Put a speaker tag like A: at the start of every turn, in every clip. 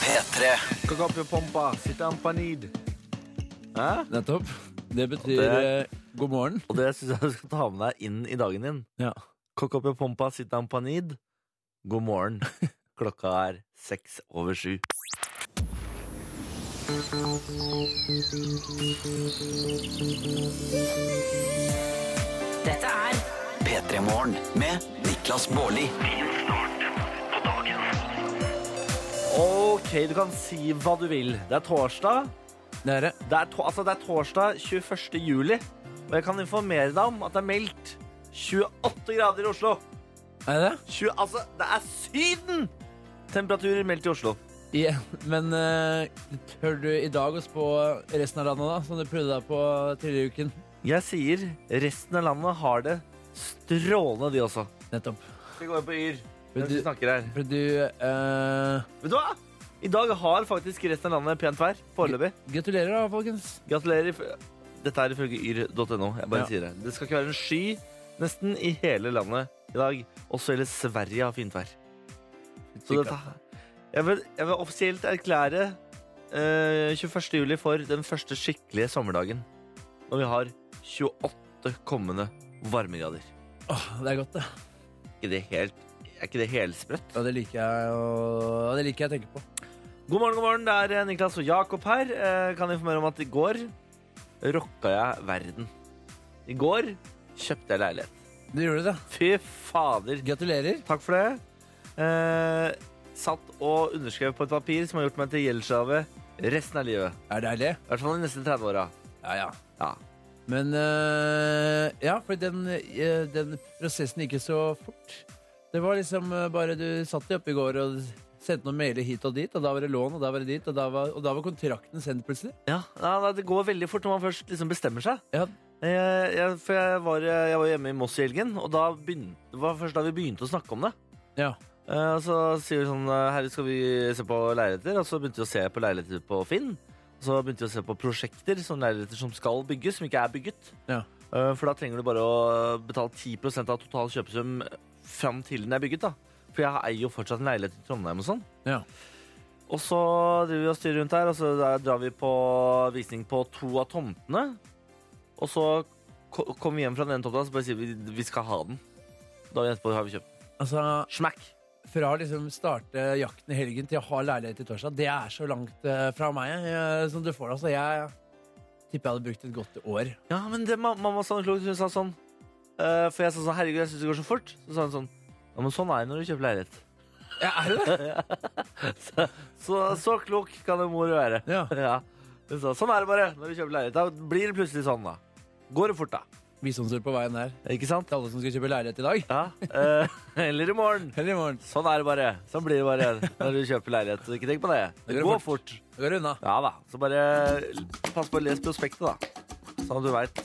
A: P3
B: Kakapjopompa, sitampanid. Hæ?
C: Nettopp. Det betyr
B: Det
C: eh, god morgen.
B: Og det syns jeg du skal ta med deg inn i dagen din.
C: Ja.
B: Kokopjopompa, sitampanid. God morgen. Klokka er seks over sju.
D: Dette er
A: P3 Morgen med Niklas Baarli.
B: Ok, du kan si hva du vil. Det er torsdag.
C: Det er det.
B: Det er, to altså, det er torsdag 21. juli. Og jeg kan informere deg om at det er meldt 28 grader i Oslo.
C: Er det?
B: 20, altså, det er Syden! Temperaturer meldt i Oslo.
C: Igjen. Men eh, tør du i dag å spå resten av landet, da? Som du prøvde deg på tidligere i uken?
B: Jeg sier resten av landet har det strålende, de også.
C: Nettopp.
B: Vi går på Yr.
C: Men
B: Mens
C: du,
B: vi snakker her.
C: for du eh,
B: Vet du hva? I dag har faktisk resten av landet pent vær. Foreløpig.
C: Gratulerer, da, folkens.
B: Gratulerer. if- Dette er ifølge yr.no. Jeg bare
C: Ja.
B: sier det. Det skal ikke være en sky nesten i hele landet i dag. Også hele Sverige har fint vær. Så dette, jeg, vil, jeg vil offisielt erklære eh, 21. juli for den første skikkelige sommerdagen. Når vi har 28 kommende varmegrader.
C: Åh, det er godt, det.
B: Er det helt, er ikke det helsprøtt?
C: Ja, det liker jeg å ja, det liker jeg å tenke på.
B: God morgen, god morgen. Det er eh, Niklas og Jakob her. Eh, Kan informere om at i går rocka jeg verden. I går kjøpte jeg leilighet.
C: Du gjorde det.
B: Fy fader.
C: Gratulerer.
B: Takk for det. Eh, satt og underskrev på et papir som har gjort meg til gjeldsslave resten av livet.
C: Er det deilig?
B: I hvert fall de neste 30 åra.
C: Ja, ja.
B: Ja.
C: Men eh, ja, for den, eh, den prosessen gikk ikke så fort. Det var liksom eh, bare du satt deg oppe i går og sendte noen mailer hit og dit, og da var det lån, og da var det dit, og da var, og da var kontrakten sendt plutselig.
B: Ja, nei, det går veldig fort når man først liksom bestemmer seg.
C: Ja.
B: Jeg, jeg, for jeg var, eh, jeg var hjemme i Moss i helgen, og da begynte, det var først da vi begynte å snakke om det.
C: Ja.
B: Eh, Og så sier vi sånn eh, Herre, skal vi se på leiligheter? Og så begynte vi å se på leiligheter på Finn. Og så begynte vi å se på prosjekter, sånne leiligheter som skal bygges, som ikke er bygget.
C: Ja.
B: Eh, For da trenger du bare å betale 10 av total kjøpesum fram til den er bygget, da. For jeg eier jo fortsatt en leilighet i Trondheim og sånn.
C: Ja.
B: Og så driver vi og styrer rundt her, og så der drar vi på visning på to av tomtene. Og så ko- kommer vi hjem fra den ene tomta, og så bare sier vi vi skal ha den. Dagen etterpå har vi kjøpt den.
C: Altså,
B: Smack!
C: fra å liksom starte jakten i helgen til å ha leilighet i torsdag, det er så langt eh, fra meg eh, som du får det. Altså, jeg tipper jeg hadde brukt et godt år.
B: Ja, men det, ma- mamma sa noe klokt. Hun sa sånn eh, For jeg sa sånn Herregud, jeg syns det går så fort. Så sa hun sånn Ja, men sånn er det når du kjøper leilighet.
C: Ja, er det det?
B: Så, så klok kan en mor være.
C: Ja.
B: Ja. Hun sa sånn er det bare når du kjøper leilighet. Da blir det plutselig sånn, da. Går det fort, da.
C: Visdomsord på veien der.
B: Ikke sant?
C: Til alle som skal kjøpe leilighet i dag.
B: Ja. eh, eller i morgen.
C: Eller i morgen.
B: Sånn er det bare. Sånn blir det bare når du kjøper leilighet. Så ikke tenk på det. Det går fort.
C: Da går det unna.
B: Ja da. Så bare pass på å lese prospektet, da. Sånn at du veit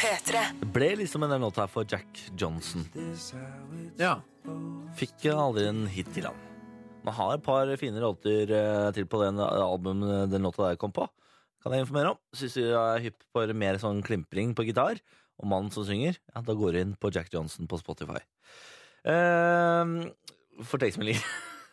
D: P3.
B: Det ble liksom en del låt her for Jack Johnson.
C: Ja.
B: Fikk aldri en hit til han. Man har et par fine låter eh, til på den albumet den låta der kom på. Kan jeg informere om. Syns du er hypp for mer sånn klimpring på gitar og mannen som synger, ja, da går du inn på Jack Johnson på Spotify. Uh, for tekstmeldinger.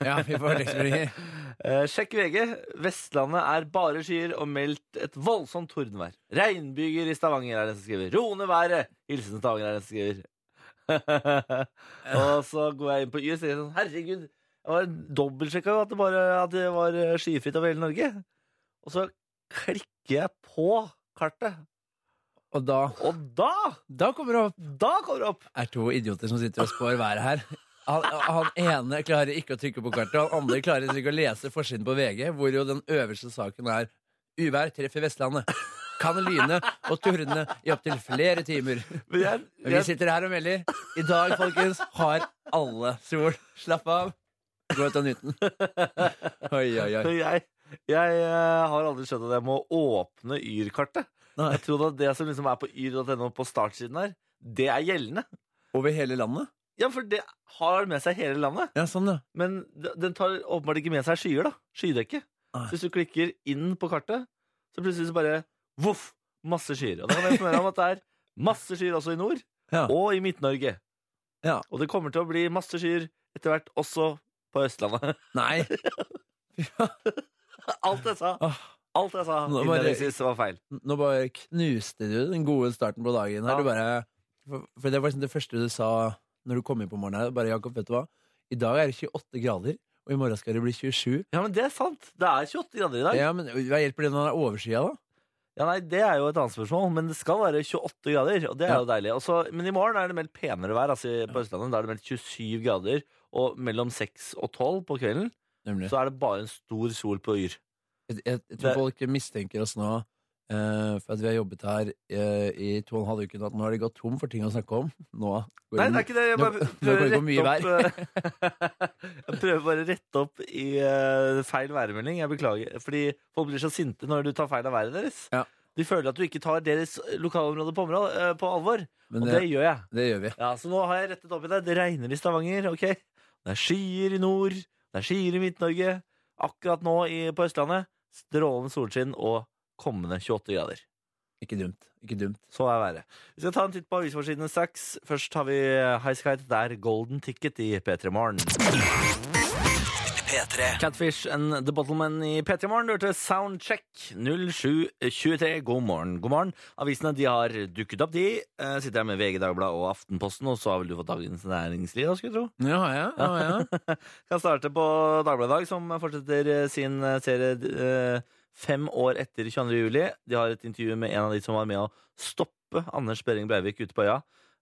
C: ja, vi får tekstmeldinger.
B: Eh, sjekk VG. Vestlandet er bare skyer og meldt et voldsomt tordenvær. Regnbyger i Stavanger er den som skriver. Rone været! Hilsen Stavanger er den som skriver. og så går jeg inn på YS og sier sånn Herregud, jeg var dobbeltsjekka jo at det bare at det var eh, skyfritt over hele Norge. Og så klikker jeg på kartet,
C: Og da,
B: og da,
C: da kommer det opp
B: da kommer det opp!
C: er to idioter som sitter og spår været her. Han, han ene klarer ikke å trykke på kartet, og han andre klarer ikke å lese forsiden på VG, hvor jo den øverste saken er Uvær treffer Vestlandet. Kan lyne og tordne i opptil flere timer.
B: Men jeg,
C: Men vi sitter her og melder. I dag, folkens, har alle sol. Slapp av. Gå ut og nyt den. Oi, oi, oi.
B: Men jeg, jeg eh, har aldri skjønt at jeg må åpne Yr-kartet.
C: Nei.
B: Jeg tror at det som liksom er på yr.no på startsiden her, det er gjeldende.
C: Over hele landet?
B: Ja, for det har med seg hele landet.
C: Ja, sånn, ja.
B: Men d- den tar åpenbart ikke med seg skyer, da. Skydekke.
C: Nei.
B: Så hvis du klikker inn på kartet, så plutselig så bare voff! Masse skyer. Og da kan jeg informere om at det er masse skyer også i nord,
C: Ja.
B: og i Midt-Norge.
C: Ja.
B: Og det kommer til å bli masse skyer etter hvert også på Østlandet.
C: Nei.
B: Alt jeg sa,
C: Åh,
B: alt jeg sa
C: Nå bare-
B: innledningsvis, var feil.
C: nå bare knuste du den gode starten på dagen her.
B: Ja.
C: Du bare, for, for det var liksom det første du sa når du kom inn på morgenen her. Bare, Jakob, vet du hva? I dag er det 28 grader, og i morgen skal det bli 27.
B: Ja, men det er sant. Det er 28 grader i dag. Ja.
C: Ja, men hva hjelper det når det er overskya, da?
B: nei, Det er jo et annet spørsmål, men det skal være 28 grader. Og det er
C: Ja.
B: jo deilig. Og så- men i morgen er det meldt penere vær altså, i- på Østlandet. Da er det meldt 27 grader, og mellom 6 og 12 på kvelden
C: Nemlig.
B: så er det bare en stor sol på Yr.
C: Jeg, jeg, jeg
B: Det-
C: tror folk mistenker oss nå eh, for at vi har jobbet her eh, i to og en halv uke nå, at nå har de gått tom for ting å snakke om. Nå går
B: Nei,
C: de-
B: det er ikke det. Jeg
C: Nå-
B: bare
C: nå
B: prøver å
C: går vi på
B: rette opp eh, Jeg prøver bare å rette opp i eh, feil værmelding. Jeg beklager. Fordi folk blir så sinte når du tar feil av været deres.
C: Ja.
B: De føler at du ikke tar deres lokalområde på, område, eh, på alvor.
C: Men
B: og
C: det,
B: det gjør jeg.
C: det gjør vi.
B: Ja, Så nå har jeg rettet opp i det. Det regner i Stavanger, OK? Det er skyer i nord. Det er skyer i Midt-Norge. Akkurat nå i, på Østlandet strålende solskinn og kommende 28 grader.
C: Ikke dumt. Ikke dumt.
B: Så er været. Vi skal ta en titt på avisforsidene straks. Først har vi eh, Highskite. Det er Golden Ticket i P3 Morgen.
A: P3.
B: Catfish and The Bottleman i P3 Morgen. Du hørte Soundcheck 0723. God morgen. God morgen. Avisene de har dukket opp, de. Eh, sitter her med VG, Dagbladet og Aftenposten, og så har vel du fått Dagens Næringsliv, da, skulle jeg tro.
C: Ja, ja, ja, ja.
B: Kan starte på Dagbladet i dag, som fortsetter eh, sin eh, serie eh, fem år etter 22. juli. De har et intervju med en av de som var med å stoppe Anders Behring Breivik ute på øya.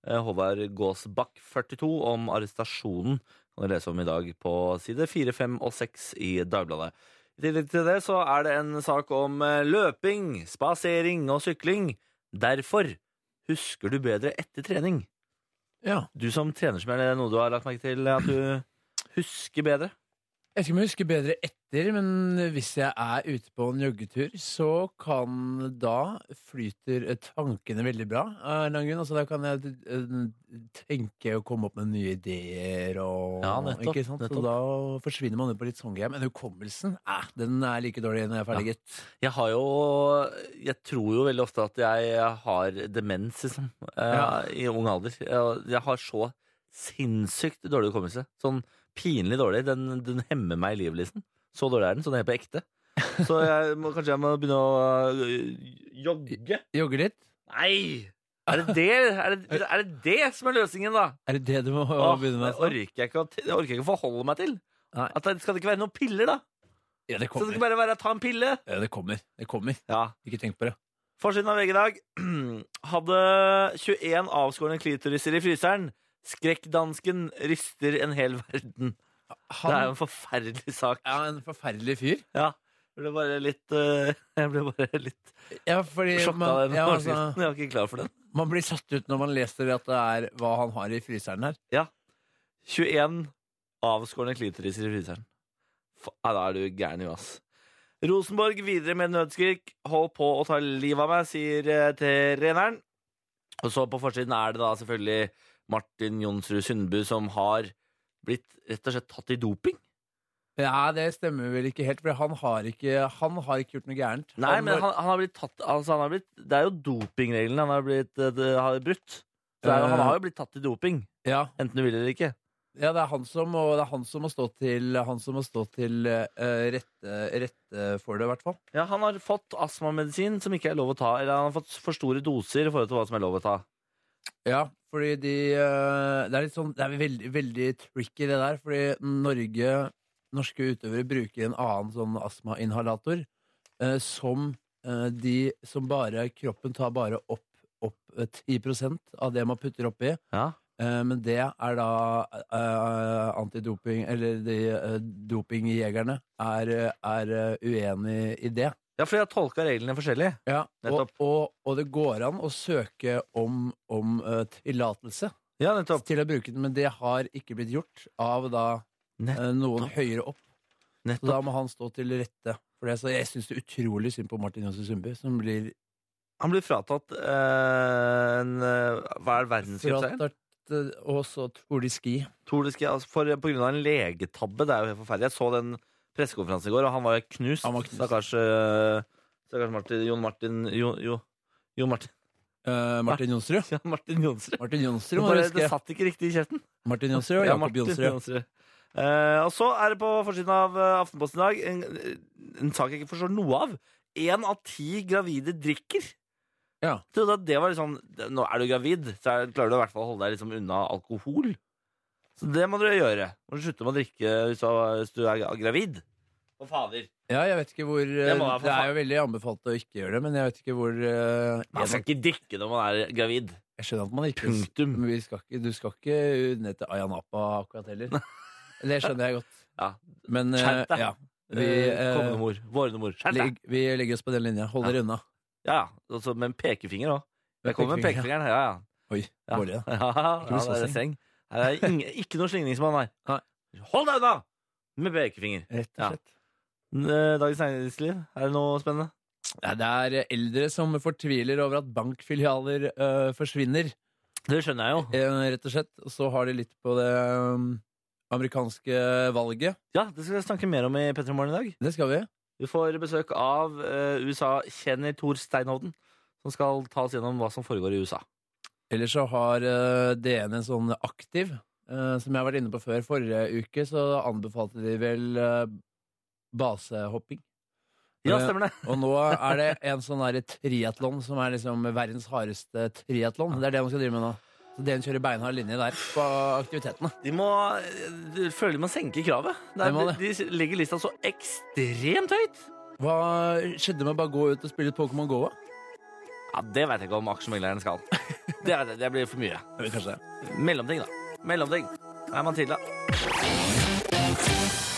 B: eh, Håvard Gåsbakk, 42, om arrestasjonen. Kan du lese om i dag på side 4, 5 og 6 i Dagbladet. I tillegg til det så er det en sak om eh, løping, spasering og sykling. Derfor husker du bedre etter trening.
C: ja.
B: Du som trener som er det noe du har lagt merke til at du husker bedre?
C: Jeg skal ikke om jeg husker bedre etter, men hvis jeg er ute på en joggetur, så kan da flyter tankene veldig bra. av en eller annen grunn. Altså, da kan jeg eh, tenke og komme opp med nye ideer. Og,
B: Ja, nettopp,
C: ikke sant?
B: nettopp.
C: Så da forsvinner man ut på litt sånn greie. Men hukommelsen eh, den er like dårlig når jeg er ferdig,
B: Ja.
C: gitt.
B: Jeg har jo Jeg tror jo veldig ofte at jeg har demens, liksom. eh,
C: Ja.
B: I ung alder. Jeg, jeg har så sinnssykt dårlig hukommelse. Sånn pinlig dårlig. Den, den hemmer meg i livet, liksom. Så dårlig er den. Sånn helt på ekte. Så jeg må, kanskje jeg må begynne å øh, jogge?
C: Jogger litt?
B: Nei! Er det det, er det, er det, det som er løsningen, da?
C: Er det det du må
B: Åh,
C: begynne
B: det
C: med? altså?
B: orker jeg ikke å, det orker jeg ikke å forholde meg til.
C: Nei.
B: At det, skal det ikke være noen piller, da?
C: Ja, det
B: Så det
C: kommer.
B: skal bare være å ta en pille?
C: Ja, det kommer. Det kommer.
B: Ja.
C: Ikke tenk på det.
B: Forsiden av VG i dag hadde 21 avskårne klitoriser i fryseren. Skrekkdansken rister en hel verden. Det er jo
C: Han
B: en forferdelig sak.
C: er en forferdelig fyr.
B: Ja. Jeg ble bare litt, eh, jeg ble bare litt
C: Ja, fordi
B: sjokka av
C: man,
B: den
C: ja, altså,
B: overskriften. Jeg var ikke klar for den.
C: Man blir satt ut når man leser at det er hva han har i fryseren her.
B: 21 avskårne klitoriser i fryseren. Fa- Nei, da er du gæren, jo, ass. Rosenborg videre med nødskrik. Hold på å ta livet av meg, sier eh, treneren. Og så på forsiden er det da selvfølgelig Martin Jonsrud Sundbu som har blitt rett og slett tatt i doping.
C: Ja, det stemmer vel ikke helt, for han har ikke, han har ikke gjort noe gærent.
B: Nei,
C: han,
B: men
C: var-
B: han, han har blitt tatt altså han har blitt, Det er jo dopingreglene han har blitt eh, det, har brutt. Så det er, jo-
C: Eh.
B: han har jo blitt tatt i doping,
C: ja,
B: enten du vil eller ikke.
C: ja, det er han som, og det er han som må stå til, han som må stå til eh, rette, rette for det, i hvert fall.
B: Ja, Han har fått astmamedisin som ikke er lov å ta, eller han har fått for store doser i forhold til hva som er lov å ta.
C: Ja, fordi de eh, Det er litt sånn Det er veldig, veldig tricky, det der, fordi Norge Norske utøvere bruker en annen sånn astmainhalator eh, som eh, de som bare Kroppen tar bare opp, opp eh, 10 av det man putter oppi.
B: Ja.
C: Eh, men det er da eh, antidoping Eller de eh, dopingjegerne er, eh, er eh, uenig i det.
B: Ja, for jeg har tolka reglene forskjellig.
C: Ja, og,
B: nettopp.
C: og, og det går an å søke om, om eh, tillatelse
B: Ja, nettopp.
C: til å bruke den, men det har ikke blitt gjort av da
B: Nett-
C: eh, noen høyere opp. Så
B: nettopp.
C: da må han stå til rette for det. Så jeg syns det er utrolig synd på Martin Johnsen Sundby, som blir
B: Han blir fratatt eh, en eh, Hva er det, verdenscupseieren?
C: Frattart, eh, og så tror de ski.
B: Tour de Ski, altså, for- På grunn av en legetabbe. Det er jo helt forferdelig. Jeg så den pressekonferansen i går, og han var jo knust.
C: Han var knust.
B: Stakkars, eh, stakkars Martin, Jon Martin Jo, jo, jo Martin,
C: Eh, Martin Jonsrud.
B: ja, Martin Jonsrud.
C: Martin
B: Det,
C: Jonsrud må du
B: bare, det
C: huske.
B: satt ikke riktig i kjeften.
C: Martin Jonsrud og
B: Ja,
C: Jakob
B: Martin
C: Jonsrud.
B: Jonsrud. Eh, og så er det på forsiden av eh, Aftenposten i dag en, en sak jeg ikke forstår noe av. Én av ti gravide drikker.
C: Ja.
B: Jeg trodde at det var liksom Nå er du gravid, så er, klarer du i hvert fall å holde deg liksom unna alkohol. Så det må dere gjøre. Må du slutte med å drikke hvis du, hvis du er gravid. For fader.
C: Ja, jeg vet ikke hvor eh,
B: Det må være for
C: Det er
B: faen.
C: jo veldig anbefalt å ikke gjøre det, men jeg vet ikke hvor eh,
B: Man skal ikke drikke når man er gravid.
C: Jeg skjønner at man ikke
B: Punktum.
C: Men vi skal ikke, Du skal ikke ned til Ayanapa akkurat heller. Det skjønner jeg godt.
B: Ja.
C: Men eh,
B: Skjerp deg.
C: ja, vi,
B: Eh,
C: eh,
B: Kommende mor. Vårende mor. Skjerp deg.
C: legg, vi legger oss på den linja. Hold dere unna.
B: Ja, altså med en pekefinger òg. Jeg kommer med
C: Pekefinger.
B: pekefingeren. Ja, ja.
C: Oi,
B: Ja.
C: Bård, ja.
B: Ja,
C: Ikke bli
B: ja
C: så
B: det er
C: streng.
B: seng. Her er ingen, ikke noe slingringsmann her. Hold deg unna! Med pekefinger.
C: Rett og
B: Ja.
C: slett.
B: Eh, Dagens Næringsliv, er det noe spennende?
C: Nei, det er eldre som fortviler over at bankfilialer øh, forsvinner,
B: Det skjønner jeg jo.
C: eh, rett og slett. Og så har de litt på det øhm, amerikanske valget.
B: Ja, Det skal vi snakke mer om i P3 Morgen i dag.
C: Det skal vi.
B: Vi får besøk av eh, USA-kjenner Thor Steinhovden, som skal ta oss gjennom hva som foregår i USA.
C: Ellers så har eh, DN en sånn aktiv, eh, som jeg har vært inne på før. Forrige uke så anbefalte de vel eh, basehopping.
B: Ja,
C: Eh,
B: stemmer det.
C: Og nå er det en sånn der triatlon som er liksom verdens hardeste triatlon. Det er det man skal drive med nå. Så DN kjører beinhard linje der på aktivitetene.
B: De må eh, de føler de må senke kravet. Det
C: De må
B: er, de, de legger lista så ekstremt høyt.
C: Hva skjedde med å bare gå ut og spille litt Pokémon Go? da?
B: Ja, Det vet jeg ikke om aksjemegleren skal. Det, vet jeg- det blir for mye.
C: Eller kanskje det.
B: Mellomting, da. Mellomting. Her er Matilda.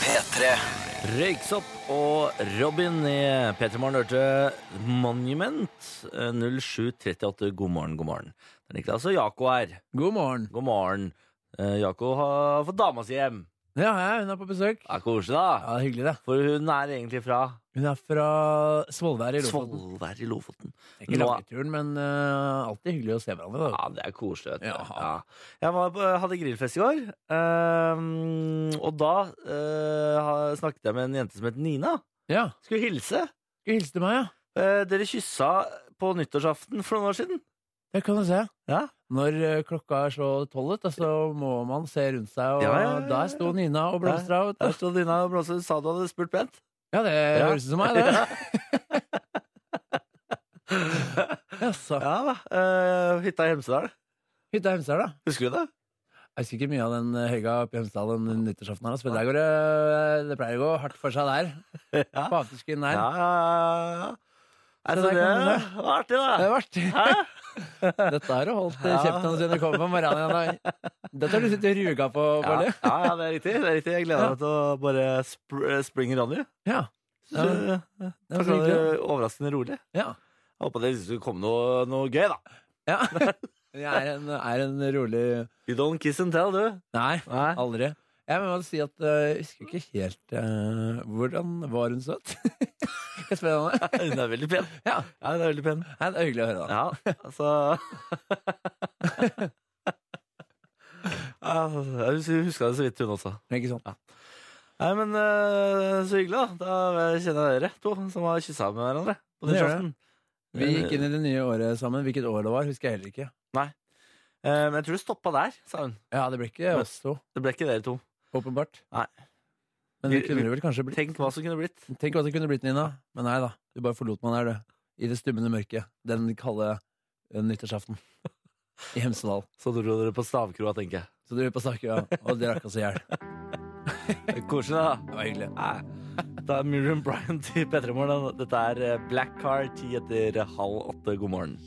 A: P3.
B: Røyksopp og Robin i P3 Morgen hørte Monument eh, 0738. God morgen, god morgen. Det er Niklas og Jako her.
C: God morgen.
B: God morgen. Eh, Jako har fått dama si hjem.
C: Ja, ja, hun er på besøk.
B: Det er koselig, da.
C: Ja, Hyggelig, det.
B: For hun er egentlig fra
C: Hun er fra Svolvær i Lofoten.
B: Svolvær i Lofoten.
C: Det er Ikke
B: Nå-
C: langturen, men eh, alltid hyggelig å se hverandre. da.
B: Ja, det er koselig. Vet du.
C: Ja.
B: Ja. Jeg var på, hadde grillfest i går, eh, og da eh, ha- snakket jeg med en jente som het Nina.
C: Ja,
B: Skulle hilse.
C: Skal hilse til meg, ja.
B: Eh, dere kyssa på nyttårsaften for noen år siden.
C: Det kan du se.
B: Ja.
C: Når eh, klokka er så tolv, ut, da, så må man se rundt seg, og
B: Ja, ja, ja, ja.
C: der sto Nina og blomstra. vet
B: Der
C: du.
B: stod Nina og blåste. Du sa du hadde spurt pent.
C: Ja, det
B: Ja.
C: høres ut som meg, det. Jaså.
B: Ja da. eh, hytta i Hemsedal.
C: Hytta i Hemsedal, da.
B: Husker du det?
C: Jeg husker ikke mye av den eh, helga oppe i Hemsedal den nyttårsaften her, altså, men der går det, det pleier å gå hardt for seg der.
B: Ja.
C: På afterskin
B: Ja,
C: der.
B: ja, ja, ja. Nei,
C: Så
B: så
C: der
B: det
C: kan du
B: var artig,
C: Det
B: da.
C: var artig.
B: Hæ?
C: Dette har du holdt eh,
B: Ja.
C: kjeften hans siden du kom på morgenen. igjen, da. Dette har du sittet og ruga på,
B: Ja,
C: Bolle.
B: ja, ja, det er riktig. det er riktig Jeg gleder meg til å bare sp springe Ronny.
C: Ja.
B: Så, eh,
C: Det
B: takk
C: var så
B: for
C: hyggelig.
B: det overraskende rolig.
C: da. Ja.
B: Jeg håper det skulle komme noe, noe gøy, da.
C: Ja. Jeg er en, er en rolig
B: You don't kiss and tell, du.
C: Nei,
B: Nei.
C: aldri. Jeg må bare si at eh, jeg husker ikke helt eh, Hvordan var hun søt? Skal jeg spørre henne?
B: Hun er veldig pen.
C: Ja.
B: Ja, hun er veldig pen.
C: Nei, det er hyggelig å høre. da
B: Ja, altså Ja, Hun huska det så vidt, hun også.
C: Men Ikke sånn.
B: Nei, men eh, Så hyggelig, da. Da kjenner jeg dere to som har kyssa med hverandre. På
C: Det gjør
B: nyttårsaften.
C: Vi gikk inn i det nye året sammen. Hvilket år det var, husker jeg heller ikke.
B: Eh, Men jeg tror det stoppa der, sa hun.
C: Ja, Det ble ikke oss to,
B: Det ble ikke dere to.
C: åpenbart.
B: Nei.
C: Men det
B: Vi-
C: kunne
B: vi-
C: det vel kanskje blitt.
B: Tenk hva som kunne blitt.
C: Tenk hva det kunne blitt, Nina. Men nei da. Du bare forlot meg der, du. I det stummende mørket. Den kalde eh, nyttårsaften. I Hemsedal.
B: Så dro dere på stavkroa, tenker jeg.
C: Så dro vi på Sakura og drakk oss i hjel. Det
B: Det er Koselig, da.
C: var hyggelig.
B: Nei. Da er Miriam Bryant i P3 Morgen. da. Dette er eh, Black Car ti etter halv åtte. God morgen.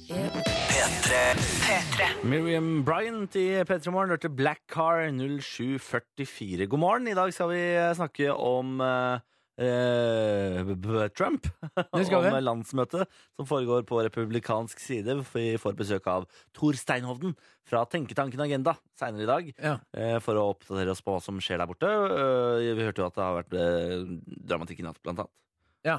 B: Miriam Bryant i P3 Morgen hørte Black Car 0744. God morgen. I dag skal vi snakke om eh, eh, b- b- Trump.
C: Det skal vi.
B: om landsmøtet som foregår på republikansk side. Vi får besøk av Tor Steinhovden fra Tenketanken Agenda seinere i dag.
C: Ja.
B: eh, For å oppdatere oss på hva som skjer der borte. Eh, Vi hørte jo at det har vært eh, dramatikk i natt, blant annet.
C: Ja.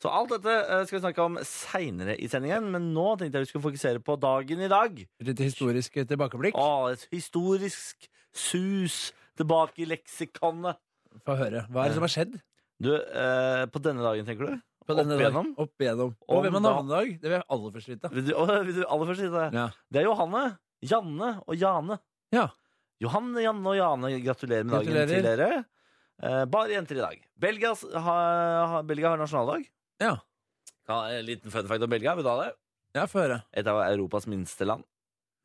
B: Så alt dette eh, skal vi snakke om seinere i sendingen, men nå tenkte jeg vi skulle fokusere på dagen i dag.
C: Litt historisk eh, tilbakeblikk.
B: Å, et historisk sus tilbake i leksikonet.
C: Få høre. Hva er det som har skjedd?
B: Du, eh, på denne dagen, tenker du?
C: På denne
B: Opp
C: dag?
B: igjennom?
C: Opp igjennom.
B: Om
C: Og hvem har
B: da-
C: navnedag? Det vil jeg aller først vite.
B: Vil du, å, vil du aller først si det?
C: Ja.
B: Det er Johanne, Janne og Jane.
C: Ja.
B: Johanne, Janne og Jane, gratulerer med dagen
C: Gratulerer.
B: til dere. Eh, bare jenter i dag. Belgias, ha, ha, Belgia har nasjonaldag.
C: Ja.
B: Ja, en eh, liten fun fact om Belgia. Vil du ha det?
C: ja, få høre.
B: Et av Europas minste land.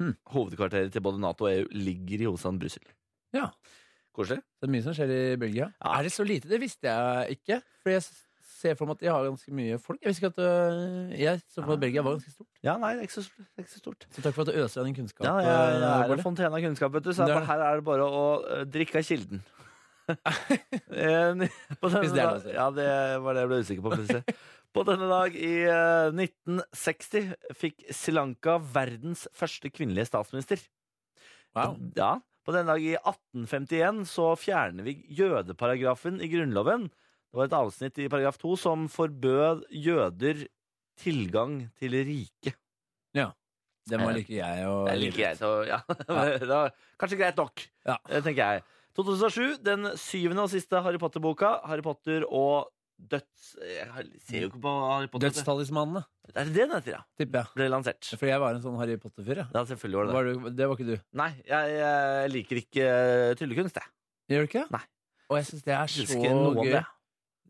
B: Hm.
C: Hmm.
B: Hovedkvarteret til både Nato og EU ligger i hovedstaden Brussel.
C: Ja.
B: Koselig?
C: Det er mye som skjer i Belgia.
B: Ja.
C: Er det så lite? Det visste jeg ikke. For jeg s- ser for meg at de har ganske mye folk. Jeg visste ikke at øh, jeg så for meg at Belgia var ganske stort.
B: Ja, nei, det er ikke så, det er ikke så stort. eh,
C: Så takk for at du øser av din kunnskap.
B: Ja, jeg, jeg
C: øh,
B: er
C: Bård.
B: en fontene av kunnskap, vet du, så
C: Det er
B: her er det bare å eh, drikke av kilden. Eh, på denne
C: Hvis det er lov å
B: dag-
C: si.
B: Ja, det var det jeg ble usikker på. plutselig. På denne dag i eh, 1960 fikk Sri Lanka verdens første kvinnelige statsminister.
C: wow.
B: Ja, På denne dag i 1851 så fjerner vi jødeparagrafen i Grunnloven. Det var et avsnitt i paragraf 2 som forbød jøder tilgang til riket.
C: Den var like jeg og
B: Det er like greit å ja.
C: Ja.
B: det var Kanskje greit nok,
C: Ja.
B: eh, tenker jeg. 2007, den syvende og siste Harry Potter-boka. Harry Potter og døds... Jeg ser jo ikke på Harry Potter. vet du.
C: Dødstalismanene,
B: Er det det den heter, ja?
C: tipper jeg.
B: Ble lansert.
C: For jeg var en sånn Harry Potter-fyr, jeg.
B: Ja, selvfølgelig var det det.
C: Var du, det var ikke du.
B: Nei, jeg, jeg liker ikke eh, tryllekunst, jeg.
C: Gjør du ikke?
B: Nei.
C: Og jeg syns det er
B: Jeg
C: så
B: husker noe om
C: gøy.
B: det.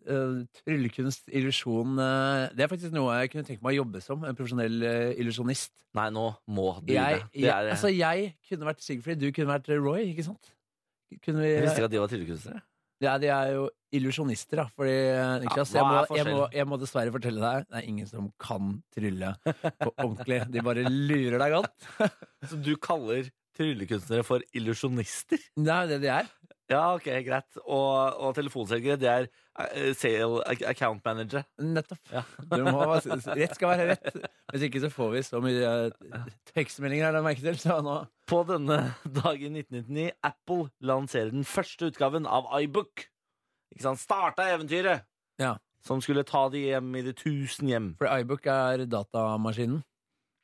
C: Eh, Tryllekunst, illusjon eh, Det er faktisk noe jeg kunne tenke meg å jobbe som. En profesjonell eh, illusjonist.
B: Nei, nå må du
C: Jeg,
B: det.
C: jeg,
B: det er,
C: altså, jeg kunne vært Sigfrid, du kunne vært Roy, ikke sant? Kunne vi,
B: jeg visste ikke at de var tryllekunstnere.
C: ja, de er jo illusjonister, da. Fordi, eh, Niklas,
B: hva
C: jeg,
B: er
C: må, jeg,
B: forskjellen?
C: må, jeg må dessverre fortelle deg det er ingen som kan trylle på ordentlig. De bare lurer deg godt.
B: Så du kaller tryllekunstnere for illusjonister?
C: Det er jo det de er.
B: Ja, ok, greit. Og, og telefonselgere, det er eh, sale account manager.
C: Nettopp. Du må, rett skal være rett. Hvis ikke så får vi så mye eh, tekstmeldinger, har jeg merket til. Så nå
B: På denne dag i 1999 Apple lanserer den første utgaven av iBook. Ikke sant? Starta eventyret!
C: Ja.
B: Som skulle ta de hjem i de tusen hjem.
C: For iBook er datamaskinen.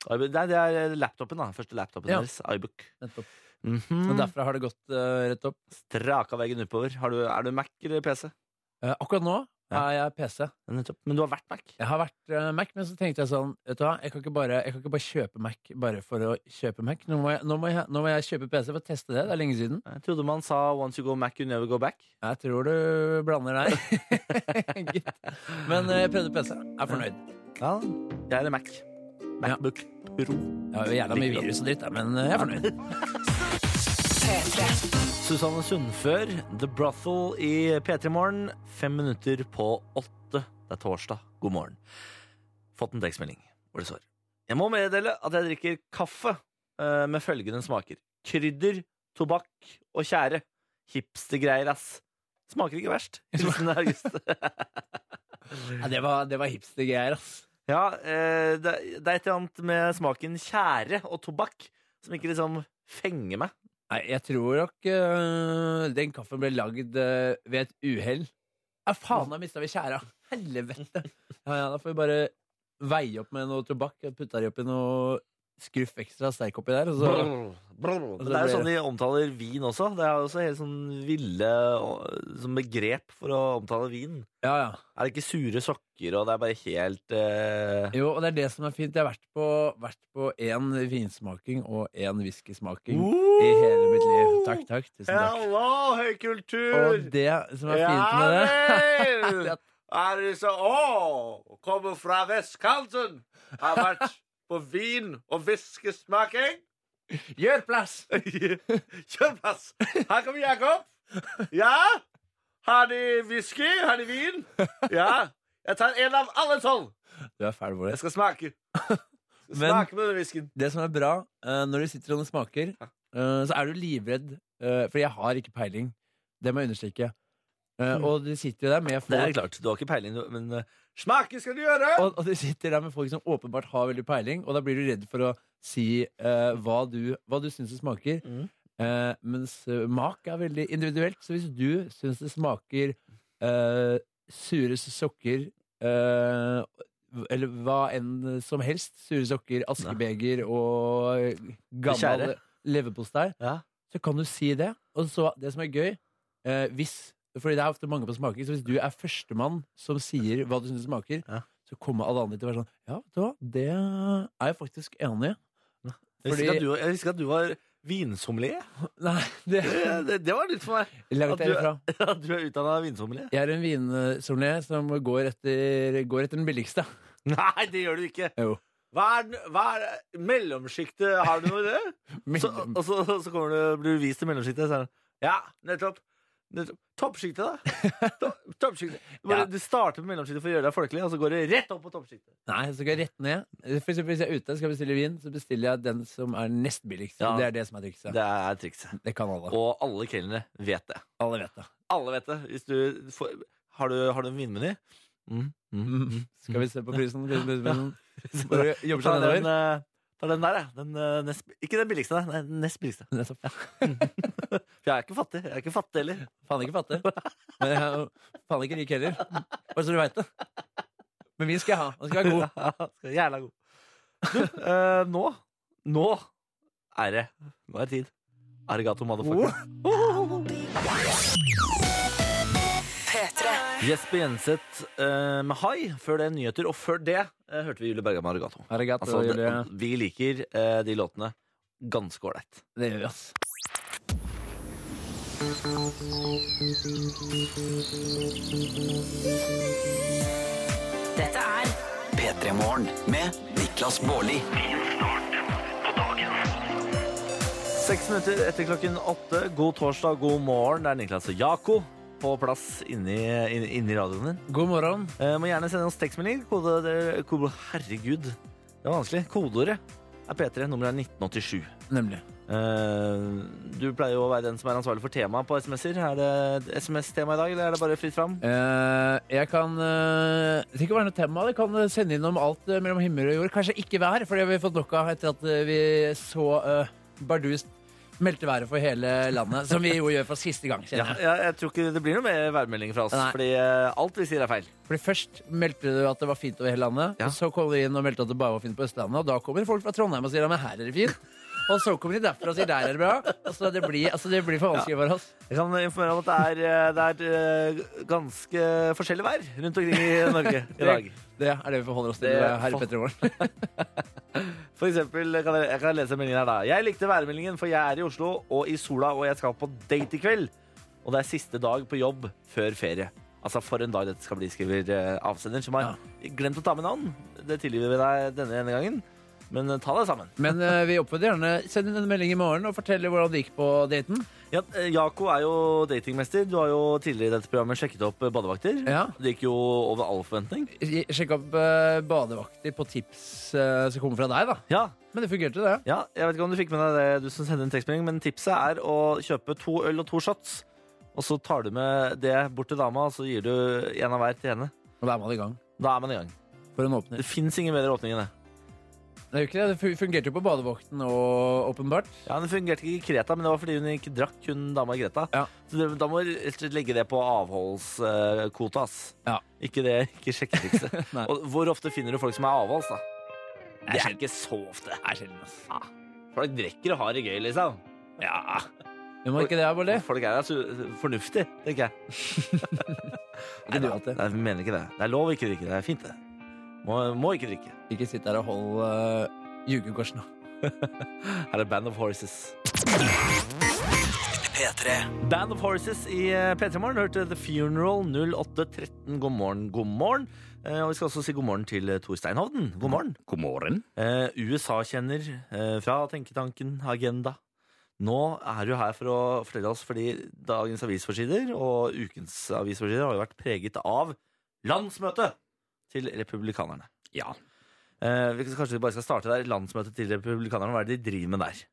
B: iBook- Nei, det er eh, laptopen, da. Første laptopen
C: Ja.
B: deres. iBook.
C: Nettopp. Og
B: Mhm.
C: derfra har det gått eh, rett opp.
B: Straka veggen oppover. Har du, er du Mac eller PC?
C: Eh, akkurat nå
B: Ja.
C: er jeg PC.
B: Nettopp. Men du har vært Mac.
C: Jeg har vært eh, Mac, men så tenkte jeg sånn Vet du hva, jeg kan ikke bare, jeg kan ikke bare kjøpe Mac bare for å kjøpe Mac. Nå må, jeg, nå, må jeg, nå må jeg kjøpe PC for å teste det. Det er lenge siden.
B: Jeg trodde man sa 'once you go Mac, you never go back'.
C: Jeg tror du blander deg. Gitt. men eh, jeg prøvde PC. Jeg er fornøyd.
B: Ja, jeg er Mac. Macbook Pro.
C: Jeg har jo jævla mye
B: Liker det.
C: virus og dritt, da, men eh, jeg er fornøyd.
B: Susanne Sundfør, The Brothel i P3 Morgen. Fem minutter på åtte. Det er torsdag. God morgen. Fått en tekstmelding hvor det står Jeg må meddele at jeg drikker kaffe eh, med følgende smaker. Krydder, tobakk og tjære. Hipstergreier, ass. Smaker ikke verst. Hilsen August.
C: Ja, det var, det var hipstergreier, ass.
B: Ja, eh, det, det er et eller annet med smaken tjære og tobakk som ikke liksom fenger meg.
C: Nei, jeg tror nok øh, den kaffen ble lagd øh, ved et uhell. Ja, faen, da mista vi tjæra! Helvete! Ja, ja, da får vi bare veie opp med noe tobakk. Jeg Putta de oppi noe skruff ekstra sterk oppi der. Og så,
B: Brr, brr.
C: så
B: Men det er jo
C: blir
B: sånn de omtaler vin også. Det er jo også helt sånn ville og- sånn begrep for å omtale vin.
C: ja, ja.
B: Er det ikke sure sokker, og det er bare helt eh,
C: Jo, og det er det som er fint. Jeg har vært på, vært på én vinsmaking og én whiskysmaking i hele mitt liv. Takk, takk. Tusen takk.
B: Hello, høykultur!
C: Og det som er fint med det
B: vel!
C: det at-
B: Er det så Å! Kommer fra vestkanten! Har vært på vin- og whiskysmaking.
C: Gjør plass!
B: Kjør pass! Her kommer Jakob. Ja? Har de whisky? Har de vin? Ja. Jeg tar en av alle tolv.
C: Du er fæl, Bård.
B: Jeg skal smake. Skal
C: Men-
B: smake med denne whiskyen.
C: Det som er bra, eh, når du sitter og smaker, eh, så er du livredd. eh, for jeg har ikke peiling. Det må jeg understreke. Eh, og du sitter jo der med folk
B: klart. Du har ikke peiling, men eh, Smake skal du gjøre!
C: og, og du sitter der med folk som åpenbart har veldig peiling, og da blir du redd for å si eh, hva du, hva du syns det smaker.
B: Mm.
C: Eh, mens eh, mak er veldig individuelt, så hvis du syns det smaker eh, sure sokker eh, eller hva enn som helst. Sure sokker, askebeger og gammel
B: Skjære.
C: leverpostei.
B: Ja.
C: Så kan du si det. Og så, det som er gøy eh, Hvis Fordi det er ofte mange på smaking, så hvis du er førstemann som sier hva du syns smaker,
B: Ja.
C: så kommer alle andre til å være sånn Ja, vet du hva, det er jeg faktisk enig i.
B: Jeg visste
C: Fordi-
B: ikke at du, jeg visste ikke at du var vinsommelier.
C: Nei, det
B: Det, det, det var nytt for meg. At
C: Langt
B: du-
C: derifra.
B: At du er utdanna vinsommelier.
C: Jeg er en vinsommelier som går etter, går etter den billigste.
B: Nei, det gjør du ikke.
C: Jo.
B: Hva er, den- hva er mellomsjiktet? Har du noe i det? Så,
C: Mellom-
B: og så, så kommer du, blir du vist til mellomsjiktet, så er det Ja, nettopp. nettopp. Toppsjiktet, da. To- Toppsjiktet. Du, bare,
C: Ja.
B: du starter med mellomsjiktet for å gjøre deg folkelig, og så går du rett opp på toppsjiktet.
C: Nei, så skal jeg rett ned. For eksempel hvis jeg er ute og skal bestille vin, så bestiller jeg den som er nest billigst.
B: Ja.
C: Det er det som er trikset.
B: Det er trikset.
C: Det kan alle.
B: Og alle kelnere vet det.
C: Alle vet det.
B: Alle vet det. Hvis du får, har, du, har du en vinmeny? Mm. Mm.
C: Skal vi se på prisen? prisen, prisen, prisen. Bare jobber
B: Ta
C: seg
B: den,
C: nedover.
B: eh, ta den der, ja. Den, eh, nest, ikke den billigste, nei. nei, Den nest billigste.
C: Nettopp.
B: For jeg er ikke fattig. Jeg er ikke fattig heller.
C: Faen ikke fattig. Men jeg er jo faen ikke rik heller. Bare så du veit det. Men vi skal ha. Den skal være god.
B: Skal Jævla god. Du, eh, nå Nå er det Nå er det tid. Arigato, motherfucker. Jesper Jenseth eh, med Hai. Før det nyheter, og før det eh, hørte vi Julie Berga med Arigato.
C: Arigato,
B: Altså, det,
C: Julie.
B: vi liker eh, de låtene ganske ålreit.
C: Det gjør vi, ass.
D: Dette er
A: P3 Morgen med Niklas Baarli.
B: Seks minutter etter klokken åtte. God torsdag, god morgen. Det er Niklas og Jako på plass inni, inni, inni radioen din.
C: God morgen.
B: Eh, må gjerne sende oss tekstmelding. Kode, det- kode, herregud, det var vanskelig. Kodeordet er P3. Nummeret er 1987.
C: Nemlig.
B: Eh, du pleier jo å være den som er ansvarlig for temaet på SMS-er. Er det SMS-tema i dag, eller er det bare fritt fram?
C: Eh, jeg kan eh, Det trenger ikke være noe tema. Jeg kan eh, sende innom alt eh, mellom himmel og jord. Kanskje ikke vær, for det har vi fått nok av etter at eh, vi så eh, bardust meldte været for hele landet. Som vi jo gjør for siste gang.
B: Ja,
C: kjenner jeg.
B: ja, jeg tror ikke det blir noe mer værmelding fra oss,
C: Nei.
B: fordi eh, alt vi sier, er feil.
C: Fordi Først meldte du at det var fint over hele landet.
B: Ja.
C: Og så kom du inn og meldte at det bare var fint på Østlandet. Og da kommer folk fra Trondheim og sier at her er det fint. Og så kommer de derfra og sier der er det bra. Altså, det, blir, altså, det blir for vanskelig for oss.
B: Jeg kan informere om at det er, eh, det er eh, ganske forskjellig vær rundt omkring i Norge i dag.
C: Det er det vi forholder oss til
B: Det er
C: eh, her
B: for-
C: i Pettermoren.
B: For eksempel, kan jeg, jeg kan lese meldingen her da. Jeg likte værmeldingen, for jeg er i Oslo og i sola, og jeg skal på date i kveld. Og det er siste dag på jobb før ferie. Altså for en dag dette skal bli, skriver eh, avsender, som har glemt å ta med navn. Det tilgir vi deg denne ene gangen, men eh, ta deg sammen.
C: Men eh, vi oppfordrer gjerne send inn en melding i morgen og fortell hvordan det gikk på daten.
B: Ja, eh, Jaco er jo datingmester. Du har jo tidligere i dette programmet sjekket opp eh, badevakter.
C: Ja.
B: Det gikk jo over all forventning.
C: Sjekk opp eh, badevakter på tips eh, som kommer fra deg, da.
B: Ja,
C: Men det fungerte, det.
B: Ja, jeg vet ikke om du fikk med deg det du som sendte en tekstmelding, men tipset er å kjøpe to øl og to shots. Og så tar du med det bort til dama, og så gir du en av hver til henne.
C: Og da er man i gang.
B: Da er man i gang.
C: For en
B: Det
C: åpner.
B: fins ingen bedre åpning enn det.
C: Det, er jo ikke det. det fu- fungerte jo på badevakten og åpenbart.
B: Ja, Det fungerte ikke i Kreta, men det var fordi hun ikke drakk, hun dama i Kreta.
C: Ja.
B: Så det, da må du rett og slett legge det på avholdskvota, ass.
C: Ja.
B: Ikke det, ikke sjekketrikset.
C: Nei.
B: og hvor ofte finner du folk som er avholds, da?
C: er
B: Det er
C: sjelden.
B: ikke så ofte. Ah.
C: Det er sjelden, ass.
B: Folk drikker og har det gøy, liksom.
C: Ja. Gjør man ikke det, Bolle?
B: Folk er altså fornuftige, tenker jeg.
C: Ikke du alltid.
B: Nei, vi mener ikke det. Det er lov å ikke drikke. Det er fint, det. Må, må ikke drikke.
C: Ikke sitt der og hold uh, jugekors nå.
B: Her er Band of Horses.
A: P3.
B: Band of Horses i eh, P3 Morgen hørte The Funeral 0813. God morgen, god morgen. Eh, Og vi skal også si god morgen til eh, Tor Steinhovden. God morgen.
E: God morgen.
B: Eh, USA-kjenner eh, fra Tenketanken, Agenda. Nå er du her for å fortelle oss, fordi dagens avisforsider og ukens avisforsider har jo vært preget av landsmøtet til republikanerne.
E: Ja.
B: Eh, vi kan- kanskje vi bare skal starte der. Landsmøtet til republikanerne, hva er det de driver med der?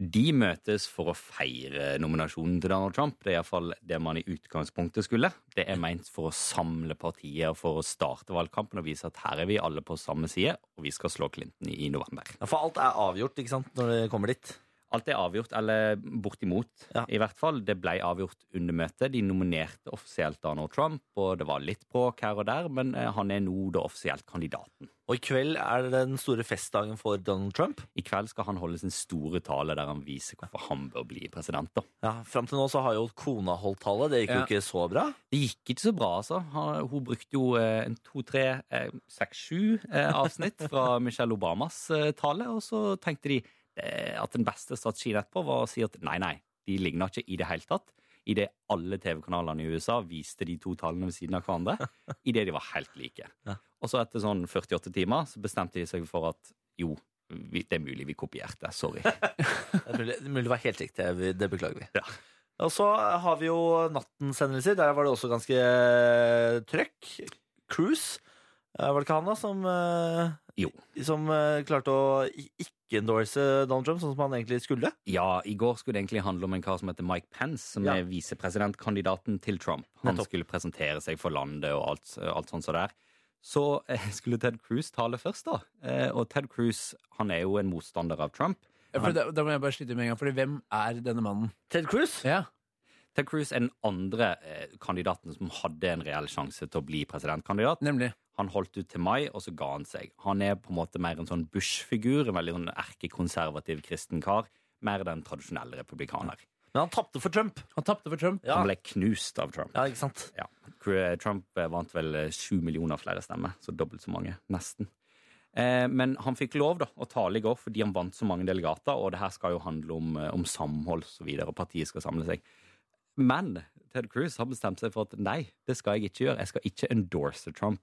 E: De møtes for å feire nominasjonen til Donald Trump. Det er iallfall det man i utgangspunktet skulle. Det er meint for å samle partiet og for å starte valgkampen og vise at her er vi alle på samme side, og vi skal slå Clinton i november.
B: Ja, for alt er avgjort, ikke sant, når det kommer dit.
E: Alt er avgjort, eller bortimot,
B: Ja.
E: i hvert fall. Det ble avgjort under møtet. De nominerte offisielt Donald Trump, og det var litt bråk her og der, men eh, han er nå da offisielt kandidaten.
B: Og i kveld er det den store festdagen for Donald Trump.
E: I kveld skal han holde sin store tale der han viser hvorfor han bør bli president, da.
B: Ja, Fram til nå så har jo kona holdt tallet. Det gikk
C: Ja.
B: jo ikke så bra.
E: Det gikk ikke så bra, altså. Han- Hun brukte jo eh, en to, tre, eh, seks, sju eh, avsnitt fra Michelle Obamas eh, tale, og så tenkte de eh, at den beste strategien etterpå var å si at nei, nei, de ligner ikke i det hele tatt. I det alle TV-kanalene i USA viste de to tallene ved siden av hverandre, i det de var helt like.
B: Ja.
E: Og så etter sånn 48 timer så bestemte de seg for at jo, vi- det er mulig vi kopierte. Sorry.
B: Det er mulig, det er mulig det var helt riktig. Vi- Det beklager vi. Og så har vi jo nattens hendelser. Der var det også ganske eh, trøkk. Cruise. Eh, Var det ikke han da som, eh,
E: Jo.
B: som eh, klarte å i- ikke endorse Donald Trump sånn som han egentlig skulle?
E: Ja, i går skulle det egentlig handle om en kar som heter Mike Pence, som
B: Ja.
E: er visepresidentkandidaten til Trump. Han
B: Nettopp.
E: skulle presentere seg for landet og alt, alt sånt som det er. Så eh, skulle Ted Cruz tale først, da. Eh, og Ted Cruz han er jo en motstander av Trump.
C: Ja, for da, da må jeg bare skyte med en gang, Fordi hvem er denne mannen?
B: Ted Cruz?
C: Ja,
E: Ted Cruz er den andre eh, kandidaten som hadde en reell sjanse til å bli presidentkandidat.
C: Nemlig.
E: Han holdt ut til mai, og så ga han seg. Han er på en måte mer en sånn Bush-figur, en veldig sånn erkekonservativ kristen kar. Mer den tradisjonelle republikaner.
B: Men han tapte for Trump.
C: Han tapte for Trump.
B: Ja.
E: Han ble knust av Trump.
B: ja, ikke sant?
E: ja. Trump eh, vant vel sju millioner flere stemmer, så dobbelt så mange, nesten. Eh, Men han fikk lov da, å tale i går fordi han vant så mange delegater, og det her skal jo handle om, eh, om samhold og så videre, og partiet skal samle seg. Men Ted Cruz har bestemt seg for at nei, det skal jeg ikke gjøre. Jeg skal ikke endorse Trump.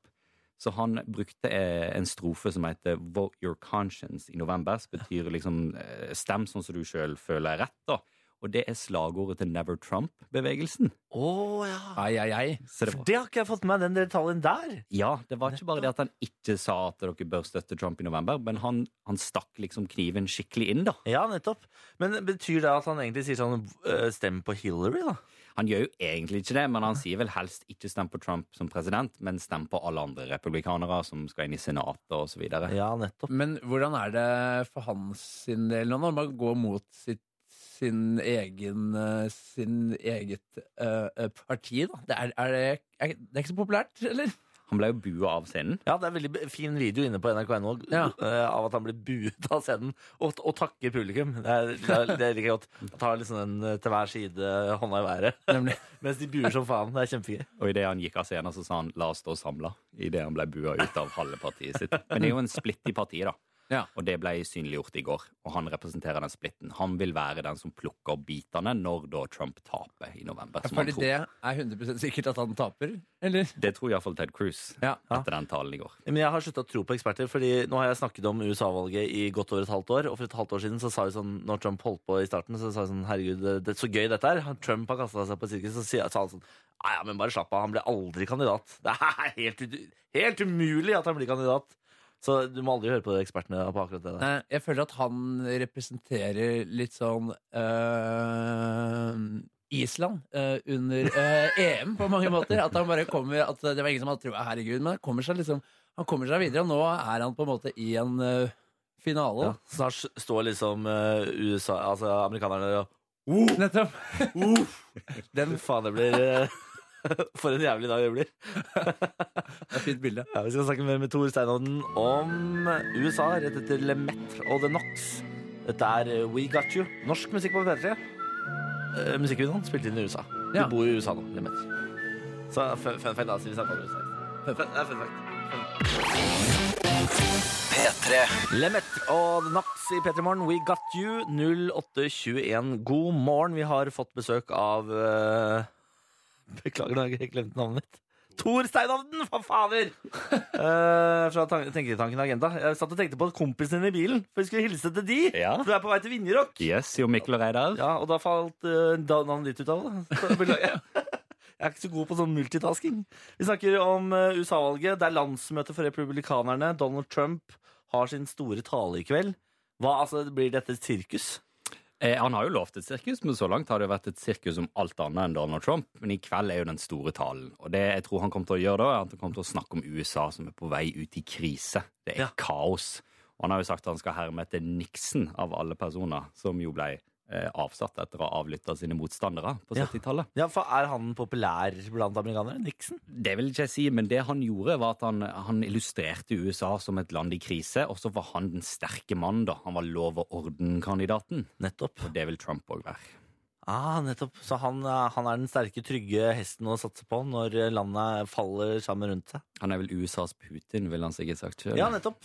E: Så han brukte eh, en strofe som heter 'Vote your conscience' i november. Som betyr liksom eh, 'stem sånn som du sjøl føler er rett', da. Og det er slagordet til Never Trump-bevegelsen.
B: Å ja.
C: Ai, ai, ai.
E: Så det var-
B: For det har ikke jeg fått med meg, den detaljen der.
E: Ja, det var ikke bare det at han ikke sa at dere bør støtte Trump i november, men han, han stakk liksom kniven skikkelig inn, da.
B: Ja, nettopp. Men betyr det at han egentlig sier sånn eh, Stem på Hillary, da?
E: Han gjør jo egentlig ikke det, men han sier vel helst ikke stem på Trump som president, men stem på alle andre republikanere som skal inn i senatet og så videre.
B: Ja, nettopp.
C: Men hvordan er det for hans sin del nå, når man går mot sitt sin egen eh, sin eget eh, eh, parti, da? Det er, er det, er, det er ikke så populært, eller?
E: Han ble jo bua av scenen.
B: Ja, det er en veldig b- fin video inne på NRK.no
C: Ja.
B: eh, av at han blir buet av scenen og, og takker publikum. Det er, det er, det er like godt. Han tar liksom den eh, til hver side hånda i været
C: Nemlig.
B: mens de buer som faen. Det er kjempegøy.
E: Og idet han gikk av scenen, så sa han 'la oss stå samla', idet han ble bua ut av halve partiet sitt. Men det er jo en splitt i partiet, da.
C: Ja.
E: Og det ble synliggjort i går. Og han representerer den splitten. Han vil være den som plukker opp bitene når da Trump taper i november. som han
C: Fordi
E: tror.
C: det er 100 sikkert at han taper, eller?
E: Det tror iallfall Ted Cruz
C: Ja.
E: etter den talen i går.
B: Men jeg har slutta å tro på eksperter, Fordi nå har jeg snakket om USA-valget i godt over et halvt år. Og for et halvt år siden så sa vi sånn når Trump holdt på i starten, så sa vi sånn herregud, det, det er så gøy dette her. Trump har kasta seg på sirkus. Så sier- sa han sånn ja ja, men bare slapp av, han blir aldri kandidat. Det er helt, ut- helt umulig at han blir kandidat. Så du må aldri høre på de ekspertene på akkurat det der.
C: Nei, jeg føler at han representerer litt sånn øh, Island øh, under øh, EM på mange måter. At han bare kommer At det var ingen som hadde troa, herregud, men han kommer seg liksom Han kommer seg videre, og nå er han på en måte i en øh, finale.
B: Ja. Snart s- står liksom eh, USA, altså amerikanerne og
C: da. Nettopp.
B: Den faen det blir eh, For en jævlig dag det blir.
C: Det er et fint bilde.
B: Ja, vi skal snakke mer med Tor Steinodden om USA rett etter Lemaitre og The Knox. Dette er eh, We Got You. Norsk musikk på P3. Eh, Musikkvideoen spilte inn i USA. Du
C: Ja.
B: bor jo i USA nå, Lemaitre. Så eh, fun fun fact, da. Siden vi snakket om USA. Fun, fun, fun fact.
A: P3.
B: Lemet og The Knox i P3 Morgen. We got you. 0821. God morgen. Vi har fått besøk av eh, Beklager, nå har jeg glemt navnet mitt. Tor Steinhovden, for fader! Eh, fra tan- Tenketanken Agenda. Jeg satt og tenkte på kompisen din i bilen, for vi skulle hilse til de.
E: Ja.
B: For du er på vei til Vinjerock.
E: Yes, Jo Mikkel og Reidar.
B: Ja, og da falt eh, da- navnet ditt ut av det. Så Beklager. Jeg er ikke så god på sånn multitasking. Vi snakker om eh, USA-valget. Det er landsmøte for republikanerne. Donald Trump har sin store tale i kveld. Hva, altså, Blir dette et sirkus?
E: Eh, han har jo lovt et sirkus, men så langt har det jo vært et sirkus om alt annet enn Donald Trump. Men i kveld er jo den store talen. Og det jeg tror han kommer til å gjøre da, er at han kommer til å snakke om USA som er på vei ut i krise. Det er
B: Ja.
E: kaos. Og han har jo sagt at han skal herme etter Nixon av alle personer, som jo ble eh, avsatt etter å ha avlytta sine motstandere på
B: Ja.
E: 70-tallet.
B: Ja, for Er han populær blant amerikanere? Nixon?
E: Det vil ikke jeg si, men det han gjorde var at han, han illustrerte USA som et land i krise, og så var han den sterke mannen da. Han var lov- og ordenkandidaten.
B: Nettopp.
E: Og det vil Trump òg være.
B: Ah, nettopp. Så han, eh, han er den sterke, trygge hesten å satse på når eh, landet faller sammen rundt seg?
E: Han er vel USAs Putin, ville han sikkert sagt sjøl.
B: Ja, nettopp.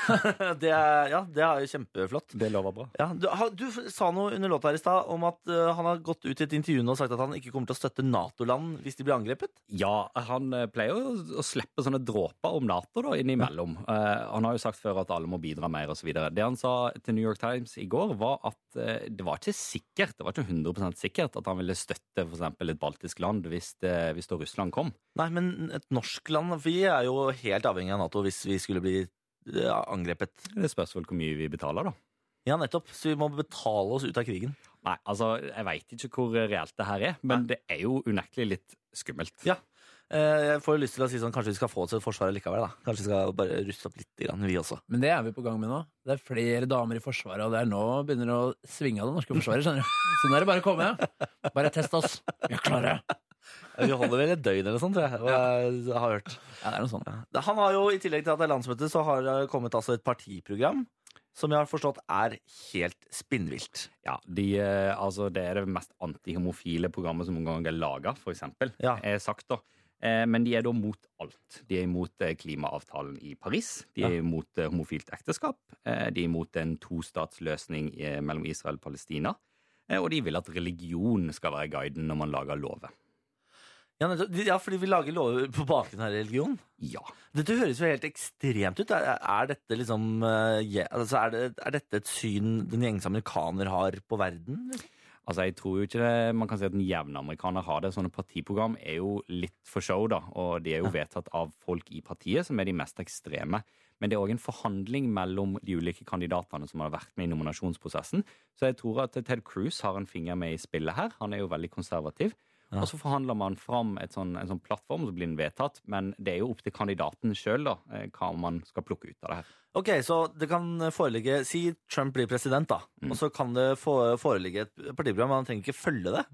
B: det, er, ja, det er jo kjempeflott.
E: det lover bra.
B: Ja, du, har- du f- sa noe under låta her i stad om at eh, han har gått ut i et intervju nå og sagt at han ikke kommer til å støtte Nato-land hvis de blir angrepet.
E: Ja, han eh, pleier jo å slippe sånne dråper om Nato da, innimellom. Eh, han har jo sagt før at alle må bidra mer osv. Det han sa til New York Times i går, var at eh, det var ikke sikkert, det var ikke 100 sikkert at han ville støtte for eksempel et baltisk land hvis, det, hvis da Russland kom.
B: Nei, men et norsk land Vi er jo helt avhengig av Nato hvis vi skulle bli eh, angrepet.
E: Det spørs vel hvor mye vi betaler, da.
B: Ja, nettopp. Så vi må betale oss ut av krigen.
E: Nei, altså, jeg veit ikke hvor reelt det her er, men det er jo unektelig litt skummelt.
B: Ja. Eh, Jeg får jo lyst til å si sånn, kanskje vi skal få oss et forsvar likevel. da. Kanskje vi skal bare ruste opp litt, grann, vi også.
C: Men det er vi på gang med nå. Det er flere damer i Forsvaret, og det er nå begynner det å svinge av det norske forsvaret. skjønner du. Sånn er det bare å komme. Bare test oss. Vi er klare.
B: Ja, Vi holder vel et døgn eller sånt, tror jeg. hva jeg har hørt.
C: Ja, det er noe sånt.
B: Det- Han har jo, I tillegg til at det er landsmøte, så har det kommet altså et partiprogram som jeg har forstått er helt spinnvilt.
E: Ja, de, eh, altså Det er det mest antihomofile programmet som noen gang er laga, f.eks.
B: Ja.
E: Er sagt, da. Eh, Men de er da mot alt. De er imot eh, klimaavtalen i Paris. De er imot eh, homofilt ekteskap. eh, De er imot en tostatsløsning eh, mellom Israel og Palestina. eh, Og de vil at religion skal være guiden når man lager lover.
B: Ja, nettopp. De- ja, fordi vi lager lover på bakgrunn av religion.
E: Ja.
B: Dette høres jo helt ekstremt ut. Er, er dette liksom eh, je- altså er, det, er dette et syn den gjengse amerikaner har på verden? liksom?
E: Altså, jeg tror jo ikke det, Man kan si at den jevne amerikaner har det. Sånne partiprogram er jo litt for show, da. Og de er jo vedtatt av folk i partiet, som er de mest ekstreme. Men det er òg en forhandling mellom de ulike kandidatene som har vært med i nominasjonsprosessen. Så jeg tror at Ted Cruz har en finger med i spillet her. Han er jo veldig konservativ.
B: Ja.
E: Og så forhandler man fram et sånn, en sånn plattform, så blir den vedtatt. Men det er jo opp til kandidaten sjøl, da, eh, hva man skal plukke ut av det her.
B: Ok, så det kan foreligge Si Trump blir president, da. Og så kan det få- foreligge et partiprogram, men han trenger ikke følge det.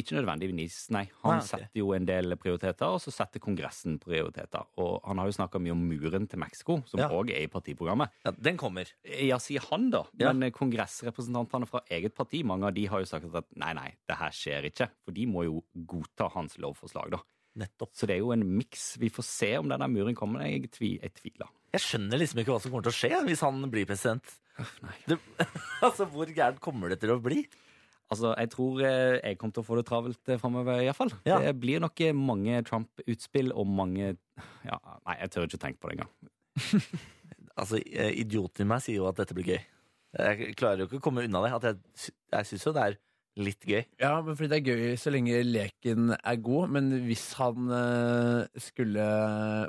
E: Ikke nødvendigvis, nei. Han
B: Nei, ok.
E: setter jo en del prioriteter, og så setter Kongressen prioriteter. Og han har jo snakka mye om muren til Mexico, som
B: Ja.
E: òg er i partiprogrammet.
B: Ja, Den kommer.
E: Ja, sier han, da.
B: Ja.
E: Men eh, kongressrepresentantene fra eget parti, mange av de har jo sagt at nei, nei, det her skjer ikke. For de må jo godta hans lovforslag, da.
B: Nettopp.
E: Så det er jo en miks. Vi får se om denne muren kommer. Jeg, tvi, jeg tviler.
B: Jeg skjønner liksom ikke hva som kommer til å skje hvis han blir president.
E: nei.
B: Det, altså, Hvor gærent kommer det til å bli?
E: Altså, Jeg tror eh, jeg kommer til å få det travelt eh, framover, iallfall.
B: Ja.
E: Det blir nok eh, mange Trump-utspill og mange ja, Nei, jeg tør ikke tenke på det engang.
B: Altså, eh, Idioten i meg sier jo at dette blir gøy. Jeg klarer jo ikke å komme unna det. At jeg, sy- jeg syns jo det er litt gøy.
C: Ja, men fordi det er gøy så lenge leken er god. Men hvis han eh, skulle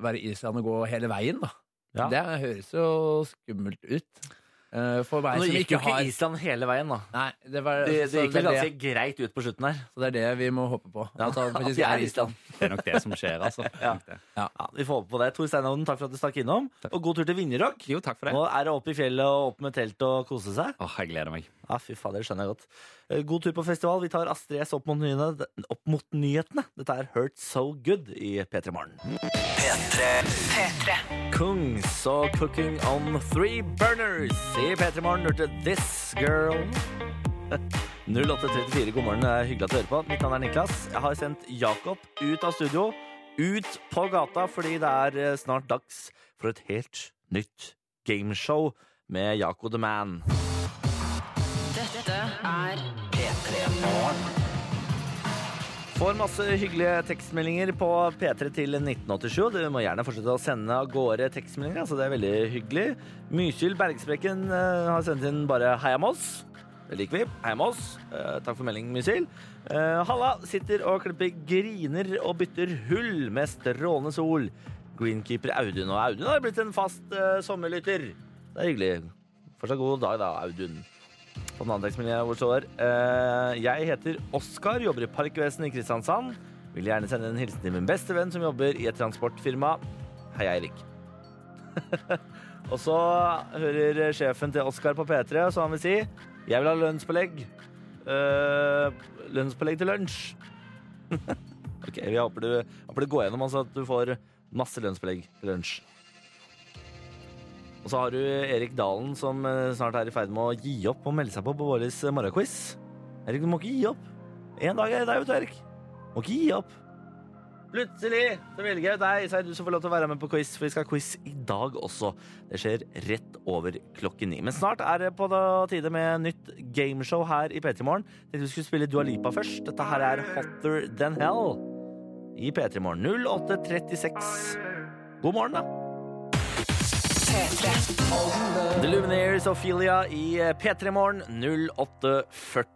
C: være Island og gå hele veien, da.
B: Ja.
C: Det høres jo skummelt ut. Eh, for meg
B: Nå
C: som
B: gikk
C: ikke
B: jo ikke
C: har
B: Island hele veien, da.
C: Nei, det, var,
B: Det,
C: så
B: det gikk
C: det
B: vel
C: er
B: ganske
C: det,
B: greit ut på slutten her.
C: så det er det vi må håpe på.
B: Ja,
C: At han
B: at
C: faktisk
B: vi
C: er Island.
E: Det er nok det som skjer, altså.
B: Ja. Ja, Vi får håpe på det. Tor Steinhovden, takk for at du stakk innom. Og god tur til Vinjerock.
E: Jo, takk for det.
B: Nå er det opp i fjellet og opp med telt og kose seg.
E: Åh, jeg gleder meg.
B: Ja, fy faen, det skjønner jeg godt. Eh, God tur på festival. Vi tar Astrid S opp mot nyhetene. Opp mot nyhetene. Dette er Hurt So Good i P3 Morgen. Kungs og Cooking on Three Burners i P3 Morgen hørte This Girl. 0834, god morgen. Det er Hyggelig at du hører på. Mitt navn er Niklas. Jeg har sendt Jakob ut av studio, ut på gata, fordi det er eh, snart dags for et helt nytt gameshow med Jaco the Man.
D: Dette er
B: Får masse hyggelige tekstmeldinger på P3 til 1987. Du må gjerne fortsette å sende av gårde tekstmeldinger, altså det er veldig hyggelig. Mykyld Bergsprekken eh, har sendt inn bare 'Heia Moss'. Det liker vi. Heia Moss. Eh, takk for melding, Mysil. Eh, Halla sitter og klipper griner og bytter hull med strålende sol. Greenkeeper Audun. Og Audun har blitt en fast eh, sommerlytter. Det er hyggelig. Fortsatt god dag, da, Audun. På den andre tekstmeldingen hvor det står eh, Jeg heter Oskar, jobber i Parkvesen i Kristiansand. Vil gjerne sende en hilsen til min beste venn som jobber i et transportfirma. Hei, Eirik. Og så hører sjefen til Oskar på P3, så han vil si Jeg vil ha lønnspålegg. Eh, lønnspålegg til lunsj. OK, vi håper, du, håper det går gjennom, altså at du får masse lønnspålegg til lunsj. Og så har du Erik Dalen, som eh, snart er i ferd med å gi opp og melde seg på på Vårlis morgenquiz. Erik, du må ikke gi opp. En dag er det deg, vet du, Erik. Må ikke gi opp. Plutselig så velger jeg deg, Iseid, du som får lov til å være med på quiz, for vi skal ha quiz i dag også. Det skjer rett over klokken ni. Men snart er det på da- tide med nytt gameshow her i P3 Morgen. Tenkte vi skulle spille Dua Lipa først. Dette her er Hotter Than Hell i P3 Morgen. 08.36. God morgen, da. The Lumineers Ophelia i eh, P3 Morgen 0842.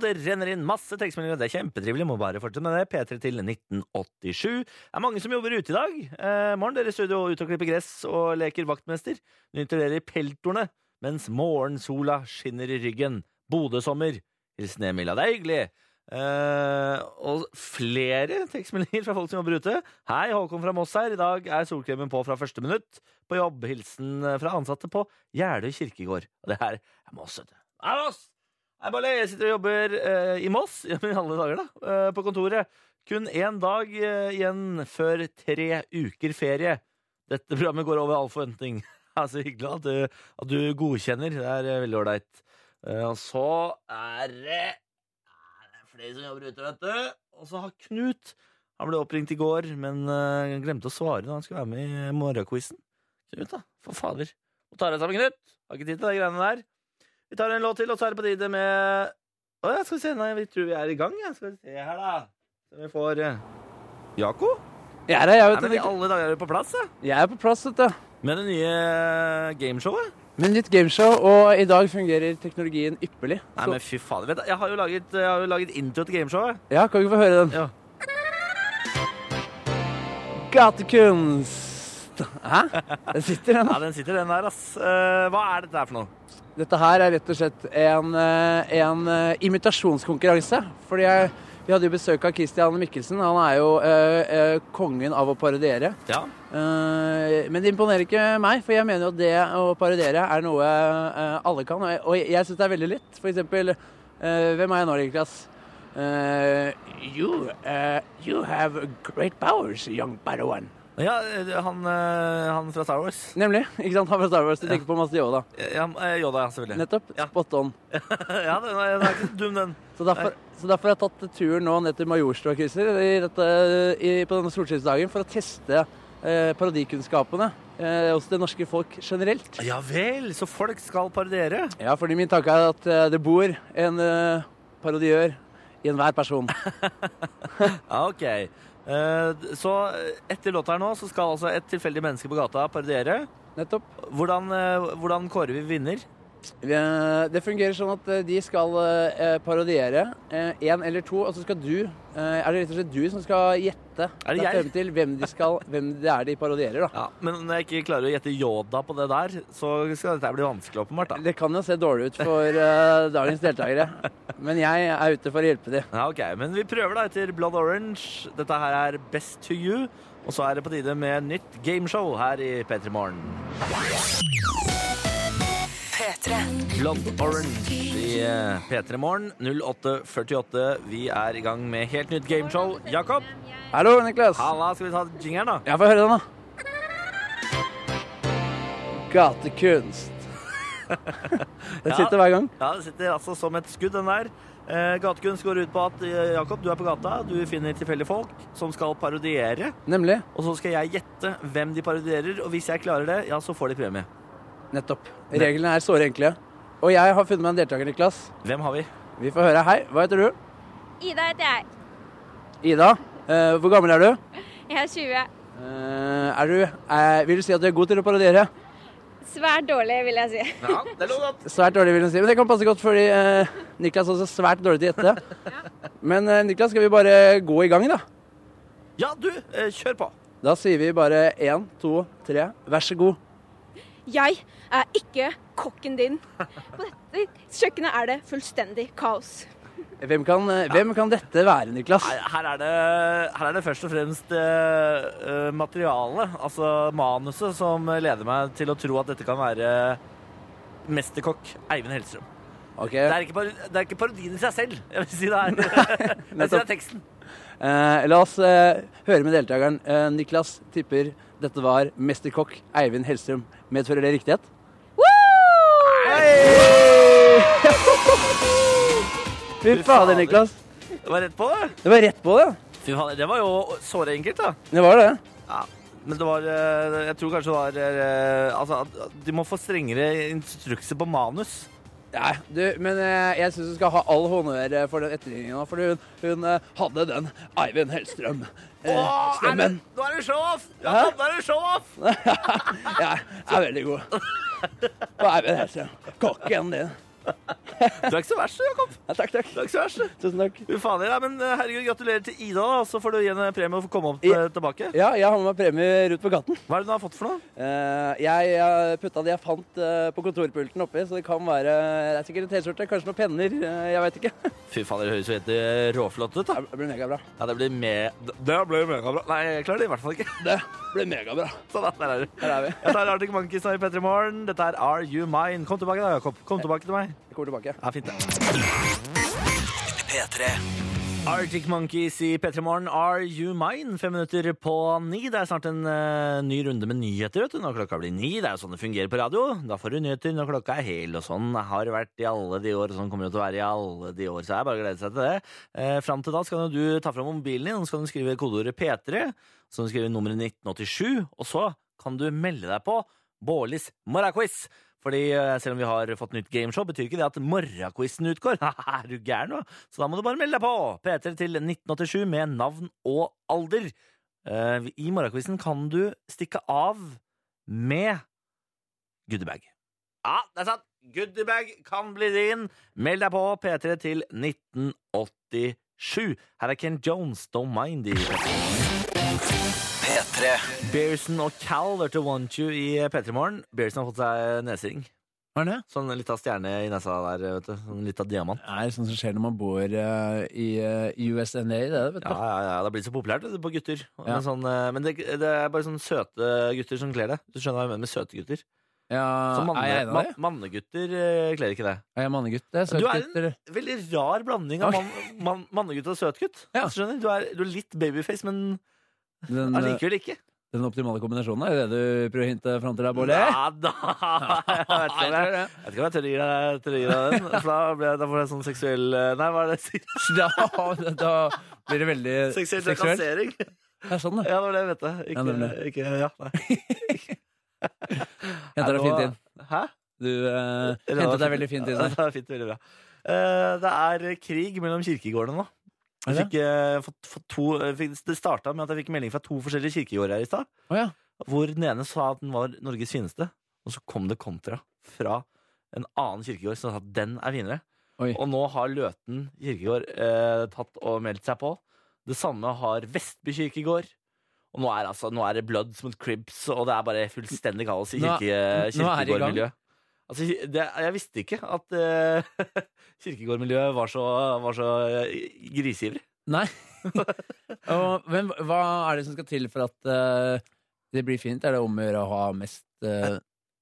B: Det renner inn masse tekstmeldinger, og det er kjempetrivelig. Må bare fortsette med det. P3 til 1987. Det er mange som jobber ute i dag. Eh, morgen, dere i studio, ute og klipper gress og leker vaktmester. Nyter dere i peltorene mens morgensola skinner i ryggen. Bodø-sommer. Hilsen Emil. Ja, Det er hyggelig. Eh, og flere tekstmeldinger fra folk som jobber ute. Hei, Håkon fra Moss her. I dag er solkremen på fra første minutt på jobb. Hilsen fra ansatte på Jeløy kirkegård. Og det her er Moss, vet du. Det er Moss! Jeg bare jeg sitter og jobber eh, i Moss ja, men i alle dager, da. eh, på kontoret. Kun én dag eh, igjen før tre uker ferie. Dette programmet går over all forventning. Det er så hyggelig at du, at du godkjenner. Det er eh, veldig ålreit. Eh, og så er det er det flere som jobber ute, vet du. Og så har Knut Han ble oppringt i går, men eh, glemte å svare da han skulle være med i morgenquizen. Knut, da. For fader. Nå tar jeg sammen Knut. Har ikke tid til de greiene der. Vi tar en låt til, og så er det på tide med Å ja, skal vi se. Nei, vi tror vi er i gang, ja. Skal vi se her, da. Så vi får eh, Jako?
C: Jeg er her, jeg,
B: Nei, men
C: vet
B: i
C: du.
B: alle dager er du på plass, da.
C: Jeg er på plass, vet du.
B: Med det nye eh, gameshowet.
C: Med nytt gameshow, og i dag fungerer teknologien ypperlig.
B: Nei,
C: Så,
B: men fy fader. Vet du, jeg har jo laget, eh, jeg har jo laget intro til gameshowet.
C: ja, kan vi få høre den?
B: Ja.
C: Gatekunst. Hæ? Den sitter, den.
B: Ja, den sitter, den der, ass. Eh, hva er dette her for noe?
C: Dette her er rett og slett en, eh, en eh, imitasjonskonkurranse. Fordi jeg, vi hadde jo besøk av Christian Mikkelsen. Han er jo eh, eh, kongen av å parodiere.
B: Ja.
C: Eh, men det imponerer ikke meg, for jeg mener jo at det å parodiere er noe eh, alle kan. Og jeg, og jeg syns det er veldig lett. For eksempel eh, Hvem er jeg nå, egentlig, ass? Eh, you, eh, you have great powers, young Padawan.
B: ja eh, han, eh, han fra Star Wars.
C: Nemlig. ikke sant? Han fra Star Wars. Du tenker på Mads Yoda.
B: Ja, eh, Yoda, ja, selvfølgelig.
C: Nettopp.
B: Ja.
C: Spot on.
B: ja, den er, den er ikke så dum, den.
C: Så derfor, så derfor har jeg tatt turen nå ned til Majorstua Christer, i dette- i- på denne solskinnsdagen for å teste eh, parodikunnskapene eh, hos det norske folk generelt.
B: Ja vel, så folk skal parodiere?
C: Ja, fordi min tanke er at eh, det bor en eh, parodiør i enhver person.
B: Ja, ok. Eh, d- så etter låta her nå så skal altså et tilfeldig menneske på gata parodiere.
C: Nettopp.
B: Hvordan, eh, hvordan kårer vi vinner?
C: Eh, Det fungerer sånn at eh, de skal eh, parodiere én eller to, og så skal du eh, Er det rett og slett du som skal gjette
B: Er det
C: deg
B: jeg?
C: frem til hvem, de skal, hvem det er de parodierer, da?
B: Ja, Men når jeg ikke klarer å gjette Yoda på det der, så skal dette bli vanskelig, åpenbart. da.
C: Det kan jo se dårlig ut for eh, dagens deltakere, men jeg er ute for å hjelpe dem.
B: Ja, ok. Men vi prøver da etter Blood Orange. Dette her er Best to you. Og så er det på tide med nytt gameshow her i P3 Morgen. Blood Orange i eh, P3 Morgen 08.48. Vi er i gang med helt nytt gameshow. Jakob,
C: Hallo, Niklas.
B: halla, skal vi ta jingeren, da?
C: Ja, få høre den, da. Gatekunst. Den sitter hver gang.
B: Ja, det sitter altså som et skudd, den der. Eh, Gatekunst går ut på at eh, Jakob, du er på gata, du finner tilfeldige folk som skal parodiere.
C: Nemlig.
B: Og så skal jeg gjette hvem de parodierer, og hvis jeg klarer det, ja, så får de premie.
C: Nettopp. Reglene er såre enkle. Og jeg har funnet meg en deltaker, Niklas.
B: Hvem har vi?
C: Vi får høre. Hei, hva heter du?
F: Ida heter jeg.
C: Ida. Eh, hvor gammel er du?
F: Jeg er 20.
C: Eh, er du eh, Vil du si at du er god til å parodiere?
F: Svært dårlig, vil jeg si.
B: Ja, det er lov, da.
C: Svært dårlig, vil hun si. Men det kan passe godt, fordi eh, Niklas er også svært dårlig til å gjette. Men eh, Niklas, skal vi bare gå i gang, da?
B: Ja, du, eh, kjør på.
C: Da sier vi bare én, to, tre, vær så god.
F: Jeg er ikke kokken din. På dette kjøkkenet er det fullstendig kaos.
G: Hvem kan,
C: eh,
G: hvem kan dette være, Niklas?
B: Nei, Her er det, her er det først og fremst eh, eh, materialet, altså manuset, som leder meg til å tro at dette kan være eh, mesterkokk Eivind Hellstrøm.
G: Ok,
B: Det er ikke, par, det er ikke parodien i seg selv, jeg vil si det er. Jeg vil si det er teksten.
G: eh, La oss eh, høre med deltakeren. Eh, Niklas tipper dette var mesterkokk Eivind Hellstrøm. Medfører det riktighet? Fy fader, Niklas.
B: Det var rett på det.
G: Det var rett på det.
B: Fy faen, det var jo såre enkelt, da.
G: Det var det.
B: Ja. Men det var eh, Jeg tror kanskje det var eh, Altså, at- at de må få strengere instrukser på manus.
G: Nei, du, men eh, jeg syns du skal ha all honnør eh, for den etterligninga, for hun, hun eh, hadde den Eivind Hellstrøm. eh,
B: Åh, er det,
G: stemmen.
B: nå er det show-off! Ja, nå er det show-off!
G: Ja, er veldig god. På Eivind Hellstrøm. Kokken din.
B: Du er ikke så verst, du, Jakob.
G: Ja, takk, takk.
B: Du er ikke så verst. du.
G: Tusen takk.
B: Fy faen, ja, men eh, herregud, Gratulerer til Ida, da, så får du igjen en premie og får komme opp
G: Ja.
B: eh, tilbake.
G: Ja, jeg har med meg premie rundt på katten.
B: Hva er det du har fått for noe?
G: Eh, jeg eh, putta det jeg fant eh, på kontorpulten oppi, så det kan være Det er sikkert en T-skjorte, kanskje noen penner, eh, jeg veit ikke.
B: Fy faen, det høres jo helt eh, råflott ut, da.
G: Det blir megabra.
B: Ja, det blir med... Det blir megabra. Nei, jeg klarer det i hvert fall ikke.
G: Det blir megabra.
B: Sånn, da, der er du.
G: Her er vi.
B: Jeg tar Arctic Monkeys nå i P3 Morgen. Dette er Are You Mine. Kom tilbake da, Jakob. Kom tilbake til meg.
G: Jeg kommer tilbake.
B: Ja, fint det.
A: P3.
B: Arctic Monkeys i P3 Morgen, Are You Mine? Fem minutter på ni. Det er snart en eh, ny runde med nyheter vet du, når klokka blir ni. Det er jo sånn det fungerer på radio. Da får du nyheter når klokka er hel, og sånn har det vært i alle de år. og Sånn kommer det til å være i alle de år, så det er bare å glede seg til det. Eh, Fram til da skal jo du ta fram mobilen din, og så kan du skrive kodeordet P3, så kan du skrive nummeret 1987, og så kan du melde deg på Bårlis morgenquiz. Fordi eh, selv om vi har fått nytt gameshow, betyr ikke det at morgenquizen utgår. er du gæren nå? Så da må du bare melde deg på! P3 til 1987 med navn og alder. Eh, I morgenquizen kan du stikke av med goodiebag. Ja, det er sant! Goodiebag kan bli din. Meld deg på P3 til 1987. Her er Ken Jones, Don't Mind You.
A: P3.
B: Bearson og Cal hørte Want You i P3 Morgen. Bearson har fått seg nesering.
C: Var det?
B: Sånn litt av stjerne i nesa der, vet du. Sånn litt av diamant.
C: Nei, sånn som skjer når man bor eh, i eh, USNA, det er det, vet du.
B: Ja, ja, ja, det har blitt så populært vet du, på gutter.
C: Ja.
B: Men, sånn, eh, men det, det er bare sånne søte gutter som kler det. Du skjønner hva jeg mener med søte gutter?
C: Ja,
B: Så manne,
C: er jeg en av
B: man,
C: dem?
B: mannegutter eh, kler ikke det.
C: Er jeg mannegutt? Det er
B: Du er en-
C: søtgutter.
B: Veldig rar blanding av
C: Ok.
B: mann- mann- mannegutt og søtgutt.
C: Ja.
B: Skjønner? Du, er, du er litt babyface, men
C: Den, eh,
B: allikevel ikke.
C: den optimale kombinasjonen er det du prøver å hinte fram til deg, Sånn, Bolle?
B: Ja da! Jeg vet ikke om jeg, jeg, vet ikke om jeg tør å gi deg- tør å gi deg den. For da, blir jeg- da får jeg sånn seksuell eh, Nei, hva er det jeg sier?
C: Da, da blir det veldig
B: Seksuell
C: seksuelt.
B: trakassering.
C: Det er sånn, det.
B: Ja, det var det jeg mente.
C: Ja, det var
B: Ikke, ikke ja, nei.
C: Henter deg fint inn.
B: Hæ?
C: Du eh,
B: Det var
C: hentet deg
B: fint.
C: veldig fint inn
B: Ja,
C: der.
B: det var fint, veldig bra. Eh, det er krig mellom kirkegårdene nå. Jeg
C: Er det?
B: fikk, eh, fått, fått to, jeg fikk, det starta med at jeg fikk melding fra to forskjellige kirkegårder her i stad.
C: Å ja.
B: Hvor den ene sa at den var Norges fineste, og så kom det kontra fra en annen kirkegård som sa at den er finere.
C: Oi.
B: Og nå har Løten kirkegård eh, tatt og meldt seg på. Det samme har Vestby kirkegård. Og nå er, altså, nå er det Bloods mot Cribs, og det er bare fullstendig kaos i
C: Nå-
B: kirke,
C: nå er det i gang.
B: kirkegårdmiljøet. Altså, det, jeg visste ikke at eh, kirkegårdmiljøet var så, var så eh, griseivrig.
C: Nei. Og hvem, hva er det som skal til for at eh, det blir fint? Er det om å gjøre å ha mest uh,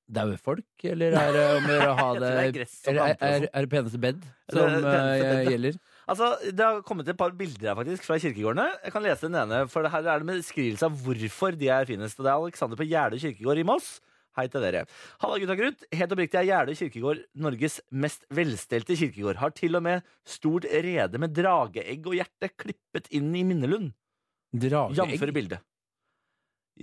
C: daue folk, eller er det om å gjøre å ha
B: Jeg tror det er
C: det Er,
B: gress og sånn.
C: er,
B: planter og
C: er, det peneste bed
B: Det er
C: som
B: peneste
C: eh,
B: bed, ja.
C: gjelder?
B: Altså, Det har kommet et par bilder her faktisk fra kirkegårdene. Jeg kan lese den ene, for det her er det med beskrivelse av hvorfor de er finest. Og Det er Alexander på Gjerdø kirkegård i Moss. Hei til dere. Halla, gutta krutt. Helt oppriktig er Gjerdø kirkegård Norges mest velstelte kirkegård. Har til og med stort rede med drageegg og hjerte klippet inn i minnelund. Jamfør
C: Drageegg?
B: bildet.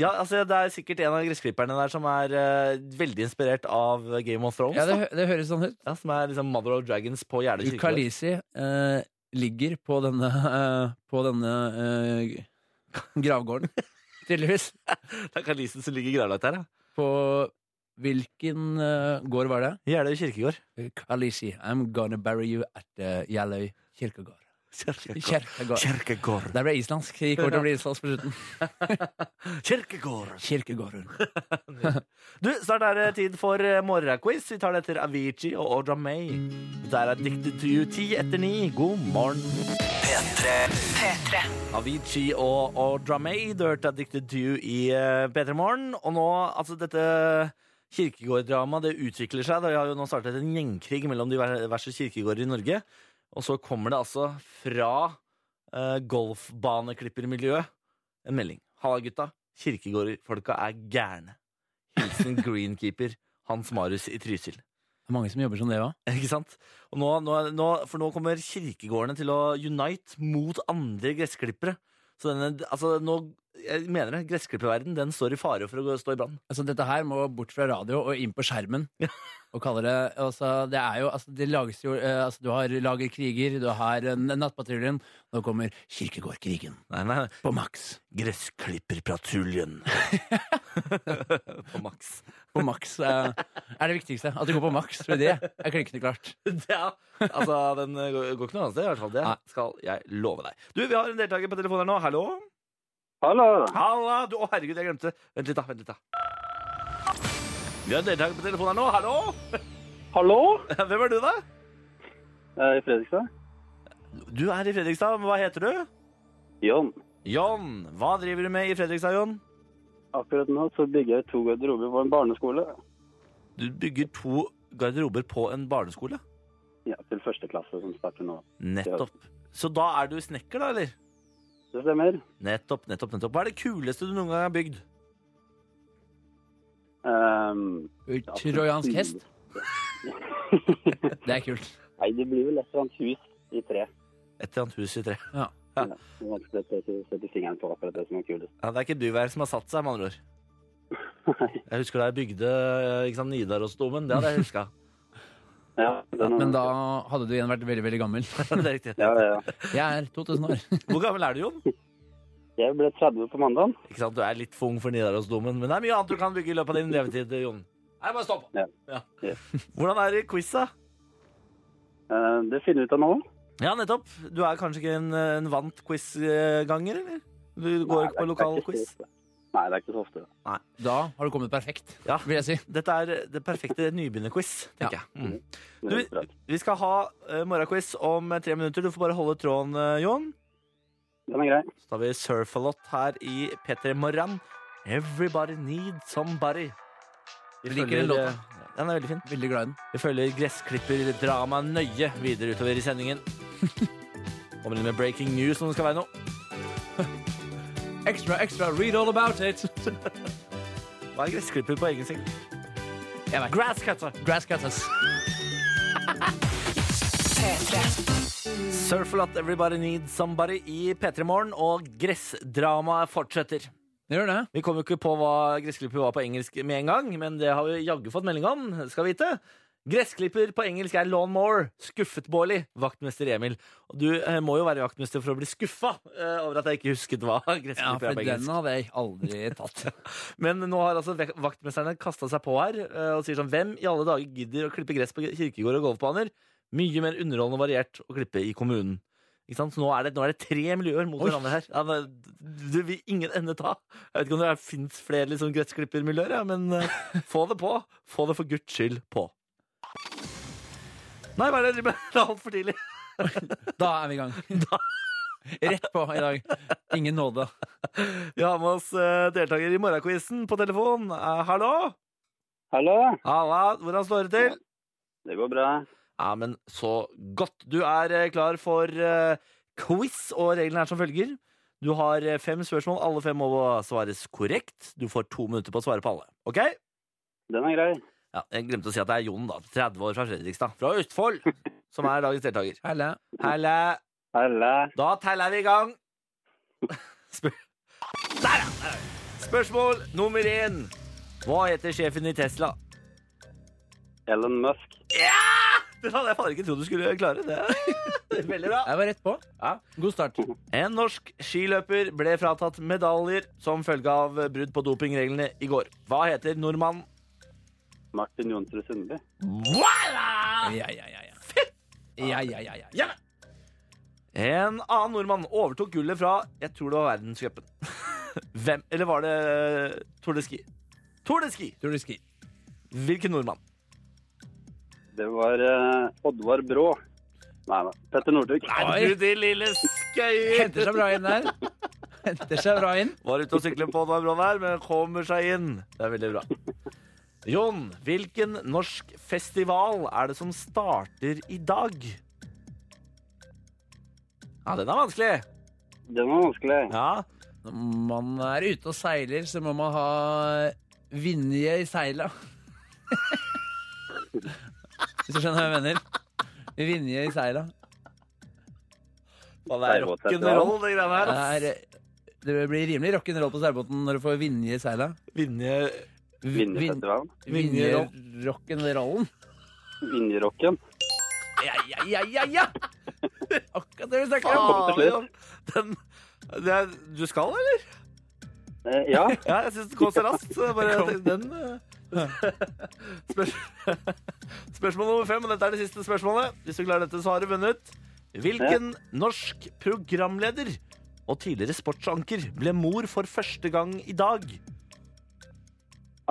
B: Ja, altså Det er sikkert en av gressklipperne der som er eh, veldig inspirert av Game of Thrones.
C: Ja, det,
B: da.
C: hø- det høres sånn ut.
B: ja, som er liksom Mother of Dragons på Gjerdø kirkegård.
C: Ukalisi eh, ligger på denne, eh, på denne eh, gravgården, tydeligvis.
B: Det er Kalisen som ligger gravlagt her. ja.
C: På hvilken eh, gård var det?
B: Gjerdø kirkegård.
C: Kalisi, I'm gonna bury you at uh, Jeløy kirkegård.
B: Kjerkegård.
C: Kjerkegård.
B: Kjerkegård.
C: Der ble jeg islandsk. Jeg Gikk over til å bli islandsk på slutten.
B: Kjerkegård.
C: Kirkegården.
B: Du, snart er det tid for eh, morgenquiz. Vi tar det etter Avicii og Audra May. Dette er Addicted to You ti etter ni. God morgen. Avicii og Audra May, du hørte Addicted to You i eh, P3 Morgen. Og nå, altså dette kirkegårddramaet, det utvikler seg. Det har jo nå startet en gjengkrig mellom de diverse kirkegårder i Norge. Og så kommer det altså fra eh, golfbaneklippermiljøet en melding. Halla, gutta. Kirkegårdfolka er gærne. Hilsen greenkeeper Hans Marius i Trysil.
C: Det er mange som jobber som det òg.
B: Ikke sant? Og nå, nå, nå, for nå kommer kirkegårdene til å unite mot andre gressklippere. Så denne, altså nå, jeg mener det, gressklipperverden, den står i fare for å gå- stå i brann.
C: Altså, dette her må bort fra radio og inn på skjermen. Og kaller det altså, Det er jo altså, Det lages jo eh, altså, Du har Lager kriger, du har eh, Nattpatruljen. Nå kommer Kirkegårdkrigen
B: Nei, nei,
C: på maks.
B: gressklipperpatruljen. På maks.
C: På maks eh, er det viktigste. At det går på maks. For det er klinkende klart.
B: Ja, altså den eh, går går ikke noe annet sted, i hvert fall. Det
C: Nei.
B: skal jeg love deg. Du, vi har en deltaker på telefonen her nå. Hallo?
H: Hallo.
B: Halla! Du, å herregud, jeg glemte. Vent litt, da. Vent litt, da. Vi har en deltaker på telefonen her nå. Hallo!
H: Hallo?
B: Hvem er du, da?
H: Jeg er i Fredrikstad.
B: Du er i Fredrikstad, men hva heter du?
H: Jon.
B: Jon. Hva driver du med i Fredrikstad, Jon?
H: Akkurat nå så bygger jeg to garderober på en barneskole.
B: Du bygger to garderober på en barneskole.
H: Ja, til første klasse som starter nå.
B: Nettopp. Så da er du snekker, da, eller?
H: Det stemmer.
B: Nettopp, nettopp, nettopp. Hva er det kuleste du noen gang har bygd?
H: Ehm, ja,
C: Trojansk hest. Det er kult.
H: Nei, det blir vel et eller annet hus i tre.
B: Et eller annet hus i tre.
H: Ja. Det er vanskelig å sette- sette fingeren på akkurat det som er kulest.
B: Ja, det er ikke duvær som har satt seg, med andre ord. Jeg husker da jeg bygde eh, ikke sant, Nidarosdomen. Det hadde jeg huska.
H: Ja, det er noe-
C: Men da hadde du igjen vært veldig, veldig gammel.
B: Det er riktig.
H: Ja, ja, ja.
C: Jeg er 2000 år.
B: Hvor gammel er du, Jon?
H: Jeg ble 30 på mandag.
B: Ikke sant, Du er litt for ung for Nidarosdomen, men det er mye annet du kan bygge i løpet av din levetid, Jon. Nei, bare stopp.
H: Ja.
B: Ja.
H: Ja. Eh,
B: Hvordan er det i quiz, da?
H: det finner vi ut av nå.
B: Ja, nettopp. Du er kanskje ikke en, en vant quizganger, eller? Du går
H: Nei,
B: ikke på
H: det er-
B: lokal
H: det er ikke
B: quiz?
H: så ofte. Nei, det er ikke så ofte.
C: Da har du kommet perfekt,
B: Ja.
C: vil jeg si.
B: Dette er eh, det perfekte nybegynnerquiz, tenker jeg. Mm.
H: Det
B: Du-
H: er bra.
B: Vi skal ha uh, morgenquiz om eh, tre minutter. Du får bare holde tråden, eh, Jon.
H: Den er grei.
B: Så tar vi Surf-A-Lot her i P3 Morgen. Everybody needs somebody. Vi
C: Jeg liker
B: følger,
C: den låta.
B: eh, ja, Den er veldig fin.
C: Veldig glad i den.
B: Vi følger gressklipperdramaet nøye videre utover i sendingen. Kommer inn med breaking news om det skal være noe.
C: Extra, extra, read all about it!
B: Hva er gressklipper på egen seng?
C: Jeg vet.
B: Grasscutter!
C: Grass cutters.
B: Surfalat Everybody Needs Somebody i P3 Morgen, og gressdramaet fortsetter.
C: Det gjør det.
B: Vi kom jo ikke på hva gressklipper var på engelsk med en gang, men det har vi jaggu fått melding om, skal vite. Gressklipper på engelsk er lawnmower, skuffet Bårli, vaktmester Emil. Og du eh, må jo være vaktmester for å bli skuffa eh, over at jeg ikke husket hva
C: Ja,
B: gressklipper
C: for
B: er på
C: den
B: engelsk.
C: hadde jeg aldri tatt.
B: Men nå har altså vek- vaktmesterne kasta seg på her eh, og sier sånn Hvem i alle dager gidder å klippe gress på kirkegård og golfbaner? Mye mer underholdende og variert å klippe i kommunen. Ikke sant? Så nå er, det, nå er det tre miljøer mot
C: Oi.
B: hverandre her. Ja, men det vil ingen ende ta. Jeg vet ikke om det fins flere liksom, gressklippermiljøer, ja, men eh, få det på. Få det for guds skyld på. Nei, hva er det jeg driver med? Det er altfor tidlig.
C: Da er vi i gang. Rett på i dag. Ingen nåde.
B: Vi har med oss eh, deltaker i morgenquizen på telefon. Eh, hallo?
H: Hallo.
B: Halla, hvordan står det til?
H: Det går bra.
B: Ja, men så godt. Du er eh, klar for eh, quiz, og reglene er som følger. Du har eh, fem spørsmål. Alle fem må svares korrekt. Du får to minutter på å svare på alle. Ok?
H: Den er grei.
B: Ja, jeg glemte å si at det er Jon, da. 30 år fra Fredrikstad. Fra Østfold. Som er dagens deltaker.
C: Helle.
B: Helle.
H: Hallo.
B: Da teller vi i gang. Spør Der, ja! Der er vi. Spørsmål nummer én. Hva heter sjefen i Tesla?
H: Elon Musk.
B: Det hadde jeg faen ikke trodd du skulle klare. Det er veldig bra.
C: Jeg var rett på.
B: Ja.
C: God start.
B: En norsk skiløper ble fratatt medaljer som følge av brudd på dopingreglene i går. Hva heter nordmannen?
H: Martin Jonsrud Sundby.
C: Ja, ja, ja. ja. Ja, ja, ja, ja.
B: En annen nordmann overtok gullet fra jeg tror det var verdenscupen. Hvem Eller var det eh, Tour de Ski? Tour de Ski!
C: Tror du ski?
B: Hvilken nordmann?
H: Det var eh, Oddvar Brå. Nei, nei. Petter Northug.
B: Herregud, de lille skøyer!
C: Henter seg bra inn der. Henter seg bra inn.
B: Var ute og sykle på det var bra vær, men kommer seg inn. Det er veldig bra. Jon, hvilken norsk festival er det som starter i dag? Ja, den er vanskelig.
H: Den var vanskelig.
B: Ja,
C: Når man er ute og seiler, så må man ha vinje i seila. Hvis du skjønner hva jeg mener. Vinje i seila.
B: Faen, det er rock'n'roll, det greiene her. ass.
C: Det, er- det blir rimelig rock'n'roll på seilbåten når du får vinje i seila.
B: Vinje
C: Vin-
H: Vinjerfestivalen.
C: Vinje rock'n'rollen.
H: Vinjerocken.
C: Ja, ja, ja, ja, ja! Akkurat det vi snakker om.
H: Kom til slutt.
B: den, det er, Du skal, eller?
H: Eh, ja.
B: Ja, jeg syns det går så raskt. Så jeg bare, tenkte, den, eh. spørs, spørsmål nummer fem, og dette er det siste spørsmålet. Hvis du klarer dette, så har du vunnet. Hvilken norsk programleder og tidligere sportsanker ble mor for første gang i dag?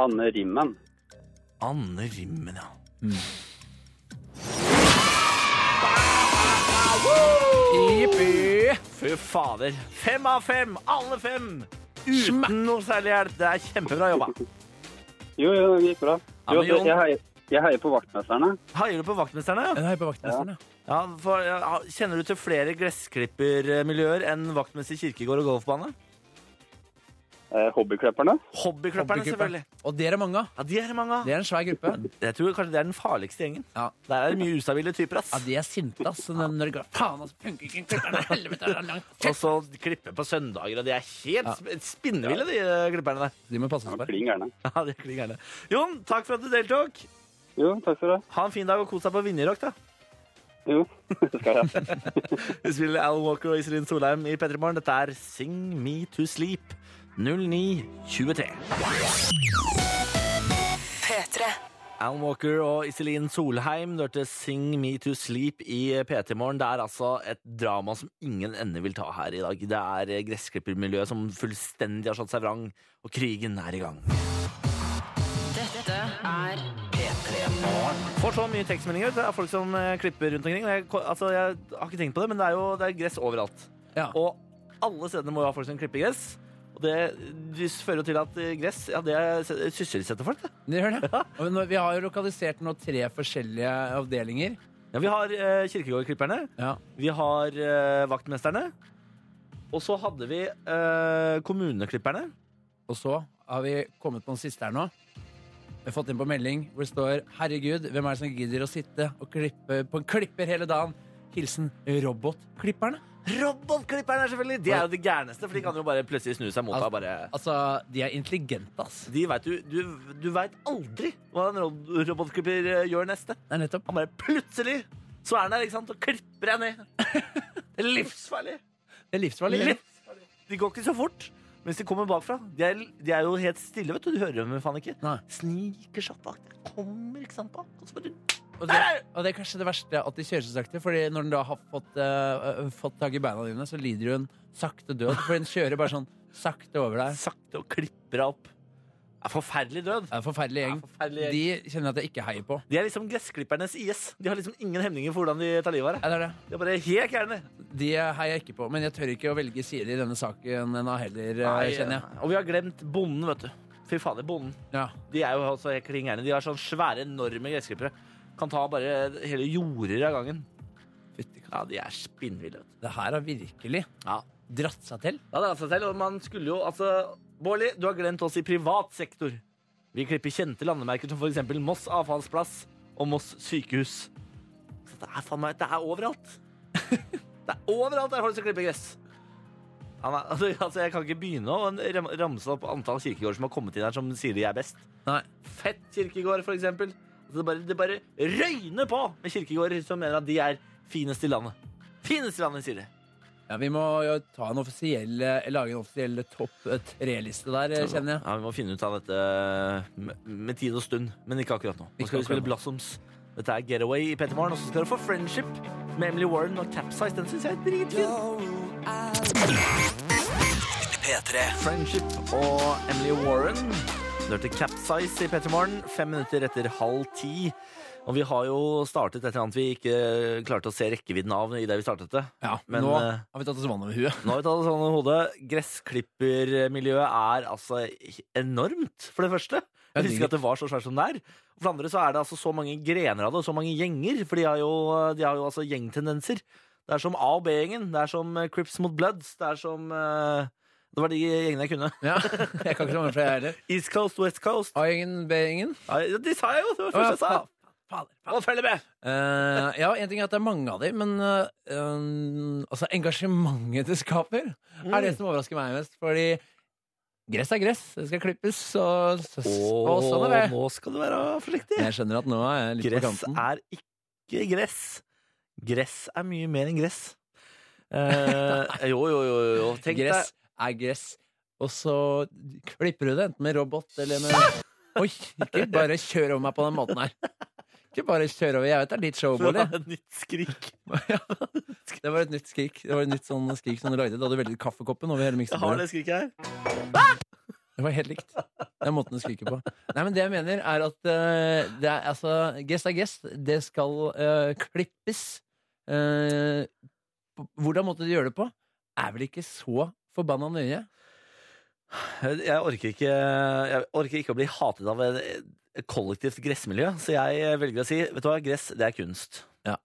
H: Anne Rimmen.
B: Anne Rimmen, ja.
C: Jippi!
B: Fy fader. Fem av fem! Alle fem! Uten noe særlig hjelp. Det er kjempebra jobba.
H: Jo, jo, det gikk bra.
B: Ja,
H: Jo, altså,
B: men Jon-
H: jeg, heier, jeg heier på vaktmesterne.
B: Heier du på vaktmesterne?
C: Den er på vaktmesteren, ja.
B: Ja, for, ja, kjenner du til flere gressklippermiljøer enn vaktmester kirkegård og golfbane?
H: Eh, hobbyklipperne.
B: Hobbyklipperne,
C: Hobbyklipperne.
B: selvfølgelig.
C: Og det er det mange av.
B: Ja, De er det mange av.
C: Det er en svær gruppe.
B: Jeg tror kanskje det er den farligste gjengen.
C: Ja.
B: Der er det mye ustabile typer.
C: Ja,
B: ass.
C: de er sinte, ass. Når når det går faen, ass. Funker ikke en klipperne, helvete, det er langt.
B: Og så klippe på søndager, og de er helt
C: Ja.
B: sp- spinnville, de eh, klipperne der.
C: De må passe seg for.
H: Klin gærne.
B: Ja, de er klin gærne. Jon, takk for at du deltok.
H: Jo, takk skal du ha.
B: Ha en fin dag og kos deg på Vinjerock, da.
H: Jo, det skal jeg.
B: Vi spiller Al Walker og Iselin Solheim i P3 Morgen. Dette er Sing Me To Sleep 0923.
D: P3.
B: Alan Walker og Iselin Solheim du hørte Sing Me To Sleep i PT Morgen. Det er altså et drama som ingen ende vil ta her i dag. Det er gressklippermiljøet som fullstendig har slått seg vrang, og krigen er i gang.
D: Dette er
B: Får så mye tekstmeldinger det er folk som eh, klipper rundt omkring. og Jeg, altså, jeg har ikke tenkt på det, men det er jo det er gress overalt.
C: Ja.
B: Og alle stedene må jo ha folk som klipper gress. Og det, det fører jo til at eh, gress ja, det sysselsetter folk. Det.
C: De gjør det. Og nå, vi har jo lokalisert nå tre forskjellige avdelinger.
B: Ja, vi har eh, kirkegårdklipperne.
C: Ja.
B: Vi har eh, vaktmesterne. Og så hadde vi eh, kommuneklipperne.
C: Og så har vi kommet på en siste her nå. Vi har fått inn på melding hvor det står Herregud, hvem er det som gidder å sitte og klippe på en klipper hele dagen? Hilsen robotklipperne.
B: Robotklipperne er selvfølgelig De er jo de gærneste, for de kan jo bare plutselig snu seg mot deg. og Bare.
C: Altså, de er intelligente, ass.
B: De vet, du du, du vet aldri hva en ro- robotklipper eh, gjør neste.
C: Det er nettopp.
B: Han bare plutselig så er han der ikke sant, og klipper deg ned. Det er livsfarlig.
C: Det er livsfarlig. eller?
B: livsfarlig. De går ikke så fort. Mens de kommer bakfra. De er, de er jo helt stille, vet du. Du hører dem faen ikke.
C: Nei.
B: Sniker seg bak. deg. Kommer ikke sant bak. Og så bare
C: Og det, og det er kanskje det verste at de kjører så sakte. Fordi når den da har fått, eh, fått tak i beina dine, så lider hun sakte død. For den kjører bare sånn sakte over deg.
B: sakte og klipper deg opp. Det er forferdelig død.
C: Det er en forferdelig gjeng.
B: Det er en forferdelig gjeng.
C: De kjenner jeg at jeg ikke heier på.
B: De er liksom gressklippernes IS. De har liksom ingen hemninger for hvordan de tar livet av deg.
C: Ja, det er det.
B: De er bare helt gærne.
C: De heier jeg ikke på, men jeg tør ikke å velge side i denne saken ennå heller, eh, kjenner jeg.
B: Og vi har glemt bonden, vet du. Fy fader, bonden.
C: Ja.
B: De er jo også helt klin gærne. De har sånne svære, enorme gressklippere. Kan ta bare hele jorder av gangen.
C: Fytti katta.
B: Ja, de er spinnville. vet du.
C: Det her har virkelig
B: Ja.
C: dratt seg til.
B: Ja, det er seg selv, og man skulle jo, altså Bårli, du har glemt oss i privat sektor. Vi klipper kjente landemerker som for eksempel Moss avfallsplass og Moss sykehus. Så det er faen meg, det er overalt. det er overalt der folk skal klippe gress. Ja, nei, altså, altså, jeg kan ikke begynne å ram- ramse opp antall kirkegårder som har kommet inn her som sier de er best.
C: Nei.
B: Fett kirkegård, for eksempel. Altså, det, bare, det bare røyner på med kirkegårder som mener at de er finest i landet. Finest i landet, sier de.
C: Ja, vi må jo ta en offisiell, eh, lage en offisiell topp eh, tre-liste der, eh, kjenner jeg.
B: Ja, Vi må finne ut av dette eh, med- med tid og stund, men ikke akkurat nå. Nå
C: Ikke
B: skal vi
C: akkurat
B: spille
C: nå.
B: Blossoms. Dette er Getaway i P3 Morgen, og så skal du få Friendship med Emily Warren og Capsize. Den syns jeg er dritfin.
A: P3.
B: Friendship og Emily Warren. Du hørte Capsize i P3 Morgen, fem minutter etter halv ti. Og vi har jo startet et eller annet vi ikke klarte å se rekkevidden av i det vi startet det.
C: Ja,
B: Men,
C: Nå
B: eh,
C: har vi tatt oss vann over huet.
B: Nå har vi tatt det sånn i hodet. Gressklippermiljøet er altså enormt, for det første. Jeg visste ikke at det var så svært som det er. For det andre så er det altså så mange grener av det, og så mange gjenger. For de har jo, de har jo altså gjengtendenser. Det er som A- og B-gjengen. Det er som eh, Crips mot Bloods. Det er som eh, Det var de gjengene jeg kunne.
C: Ja, jeg kan ikke noe mer fra jeg heller.
B: East Coast, West Coast.
C: A-gjengen, B-gjengen.
B: Nei, ja, de sa jeg jo! Det var det første jeg sa. Å, følg med!
C: Eh, ja, en ting er at det er mange av dem, men eh, eh, altså engasjementet det skaper, er
B: Mm.
C: det som overrasker meg mest. Fordi gress er gress, det skal klippes, og, så, og sånn er det.
B: nå skal du være forsiktig.
C: Men Jeg skjønner at nå er jeg litt på
B: Gress
C: kanten.
B: er ikke gress. Gress er mye mer enn gress. Eh, jo, jo, jo, jo. Tenk
C: Gress
B: deg
C: er gress, og så klipper du det enten med robot eller med Oi, ikke bare kjør over meg på den måten her. Ikke bare kjør over. Jeg vet det er ditt
B: for å
C: showbolig.
B: ha et nytt skrik.
C: Ja. Det var et nytt skrik. Det var et nytt sånn skrik som du lagde. Da hadde du veltet kaffekoppen over hele
B: Jeg har det
C: miksebordet.
B: skriket her.
C: Det var helt likt. Det er måten du skriker på. Nei, men det jeg mener, er at eh, det er altså Gress er gress. Det skal eh, klippes. Eh, på- hvordan måtte de gjøre det på? Er vel ikke så forbanna nøye?
B: Jeg orker ikke, jeg orker ikke å bli hatet av et et kollektivt gressmiljø, så jeg velger å si vet du hva, gress det er kunst.
C: Ja.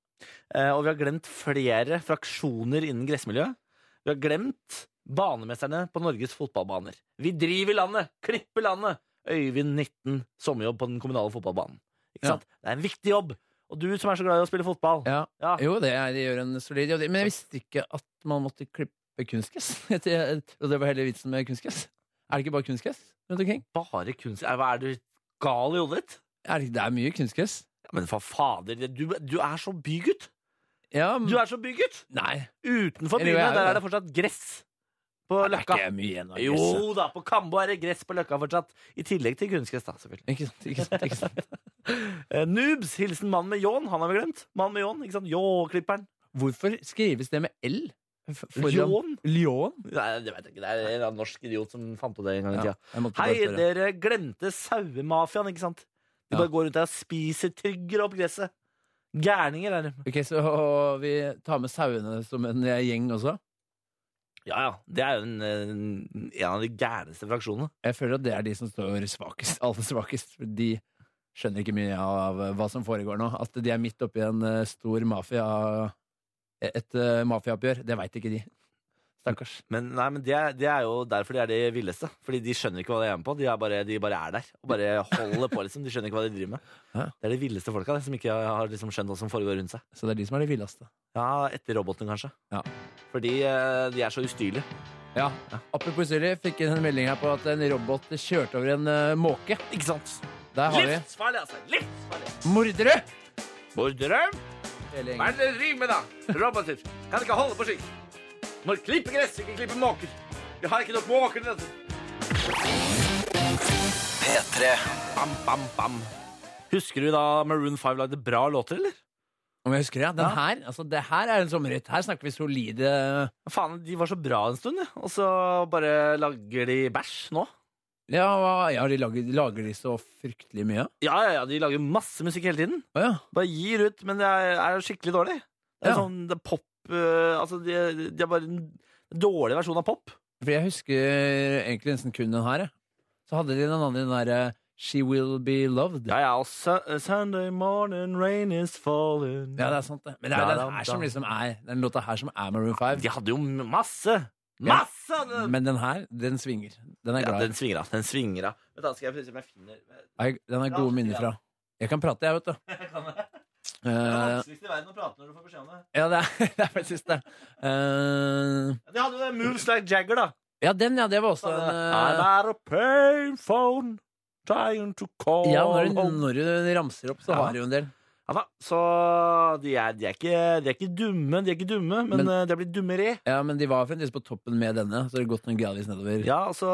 B: Eh, og vi har glemt flere fraksjoner innen gressmiljøet. Vi har glemt banemesterne på Norges fotballbaner. Vi driver landet! Klipper landet! Øyvind 19, sommerjobb på den kommunale fotballbanen. Ikke
C: Ja.
B: sant? Det er en viktig jobb! Og du som er så glad i å spille fotball.
C: Ja.
B: Ja.
C: Jo, det er, de gjør en solid jobb. Men jeg visste ikke at man måtte klippe kunstgress. Jeg trodde det var hele vitsen med kunstgress. Er det ikke bare kunstgress rundt omkring?
B: Bare kunst... Er, hva er du gal i hodet ditt?
C: Er det, ikke- det er mye kunstgress.
B: Ja, men for fader, det- du, du er så bygutt!
C: Ja,
B: Du er så bygutt!
C: Nei,
B: Utenfor
C: Eller jo,
B: byene,
C: jeg er jo
B: der
C: det.
B: er det fortsatt gress på
C: det er
B: Løkka.
C: ikke mye igjen av gresset.
B: Jo da, på Kambo er det gress på Løkka fortsatt. I tillegg til kunstgress, da, selvfølgelig.
C: Ikke sant, ikke sant, ikke sant.
B: Eh, noobs, hilsen mann med ljåen. Han har vi glemt. Mann med ljåen, ikke sant? Ljåklipperen.
C: Hvorfor skrives det med L? F- foran-
B: Ljåen?
C: Ljåen?
B: Nei, det vet jeg ikke. Det er en eller annen norsk idiot som fant på det en gang i
C: Ja,
B: tida.
C: jeg måtte bare
B: Hei,
C: spørre.
B: dere glemte sauemafiaen, ikke sant? De
C: Ja.
B: bare går rundt der og spiser, tygger opp gresset. Gærninger er de.
C: Ok, Så vi tar med sauene som en eh, gjeng også?
B: Ja ja, det er jo en, en, en av de gærneste fraksjonene.
C: Jeg føler at det er de som står svakest, aller svakest. for De skjønner ikke mye av eh, hva som foregår nå. At de er midt oppi en eh, stor mafia... Et eh, mafiaoppgjør, det veit ikke de. Stakkars.
B: Men, nei, men det, er- det er jo derfor de er de villeste. Fordi de skjønner ikke hva de er med på. De, er bare, de bare er der og bare holder på. liksom De skjønner ikke hva de driver med.
C: Hæ?
B: Det er de villeste folka det, som ikke har liksom skjønt hva som foregår rundt seg.
C: Så det er de som er de villeste.
B: Ja, Etter robotene, kanskje.
C: Ja.
B: Fordi eh, de er så ustyrlige.
C: Ja, Apropos Siri, fikk inn en melding her på at en robot kjørte over en eh, måke.
B: Ikke sant?
C: Der har vi
B: Livsfarlig, altså! Livsfarlig!
C: mordere!
B: Mordere?
C: Hele
B: Hva
C: gjengen.
B: er det dere driver med, da? Roboter. Kan ikke holde på slik. Må klippe gress, ikke klippe måker. Vi har ikke nok måker til dette.
A: P3.
B: Bam, bam, bam. Husker du da Maroon 5 lagde bra låter, eller?
C: Om jeg husker det, ja. Den her, altså det her er en sommerhit. Her snakker vi solide
B: Faen, de var så bra en stund, ja. og så bare lager de bæsj nå.
C: Ja, hva- ja de lager, lager de så fryktelig mye?
B: Ja, ja, ja, de lager masse musikk hele tiden.
C: Å ja.
B: Bare gir ut, men det er, er jo skikkelig dårlig. Det er
C: Ja.
B: sånn det er pop eh, Altså, de, de er bare en dårlig versjon av pop.
C: For jeg husker egentlig nesten kun den her. jeg. Så hadde de den andre, den derre She Will Be Loved.
B: Ja, ja, og Su- eh, Sunday morning rain is falling
C: Ja, det er sant, det. Men det er den her som liksom er Den låta her som er Maroon 5.
B: De hadde jo masse! Masse! av det.
C: Men den her, den svinger. Den er
B: Ja,
C: glad.
B: den svinger av. Den svinger av. Vent da, skal jeg se om jeg finner Det
C: Jeg- Den har gode minner fra. Jeg kan prate, jeg, vet du.
B: er det
C: Eh,
B: vanskeligste i verden å prate når du får beskjed om det.
C: ja, det er, det er faktisk det. Eh,
B: Ja, De hadde jo det Moves Like Jagger, da.
C: ja, den, ja. Det var også en eh,
B: I'm out of pain phone Trying to call
C: Ja, når du,
B: home
C: når du ramser opp, så
B: Ja.
C: har du jo en del.
B: ja, da, Så de er, de, er ikke, de er ikke dumme De er ikke dumme, men,
C: Men-
B: eh, de er blitt dummere
C: Ja, Men de var fremdeles på toppen med denne, så det har gått noen gradvis nedover.
B: Ja, altså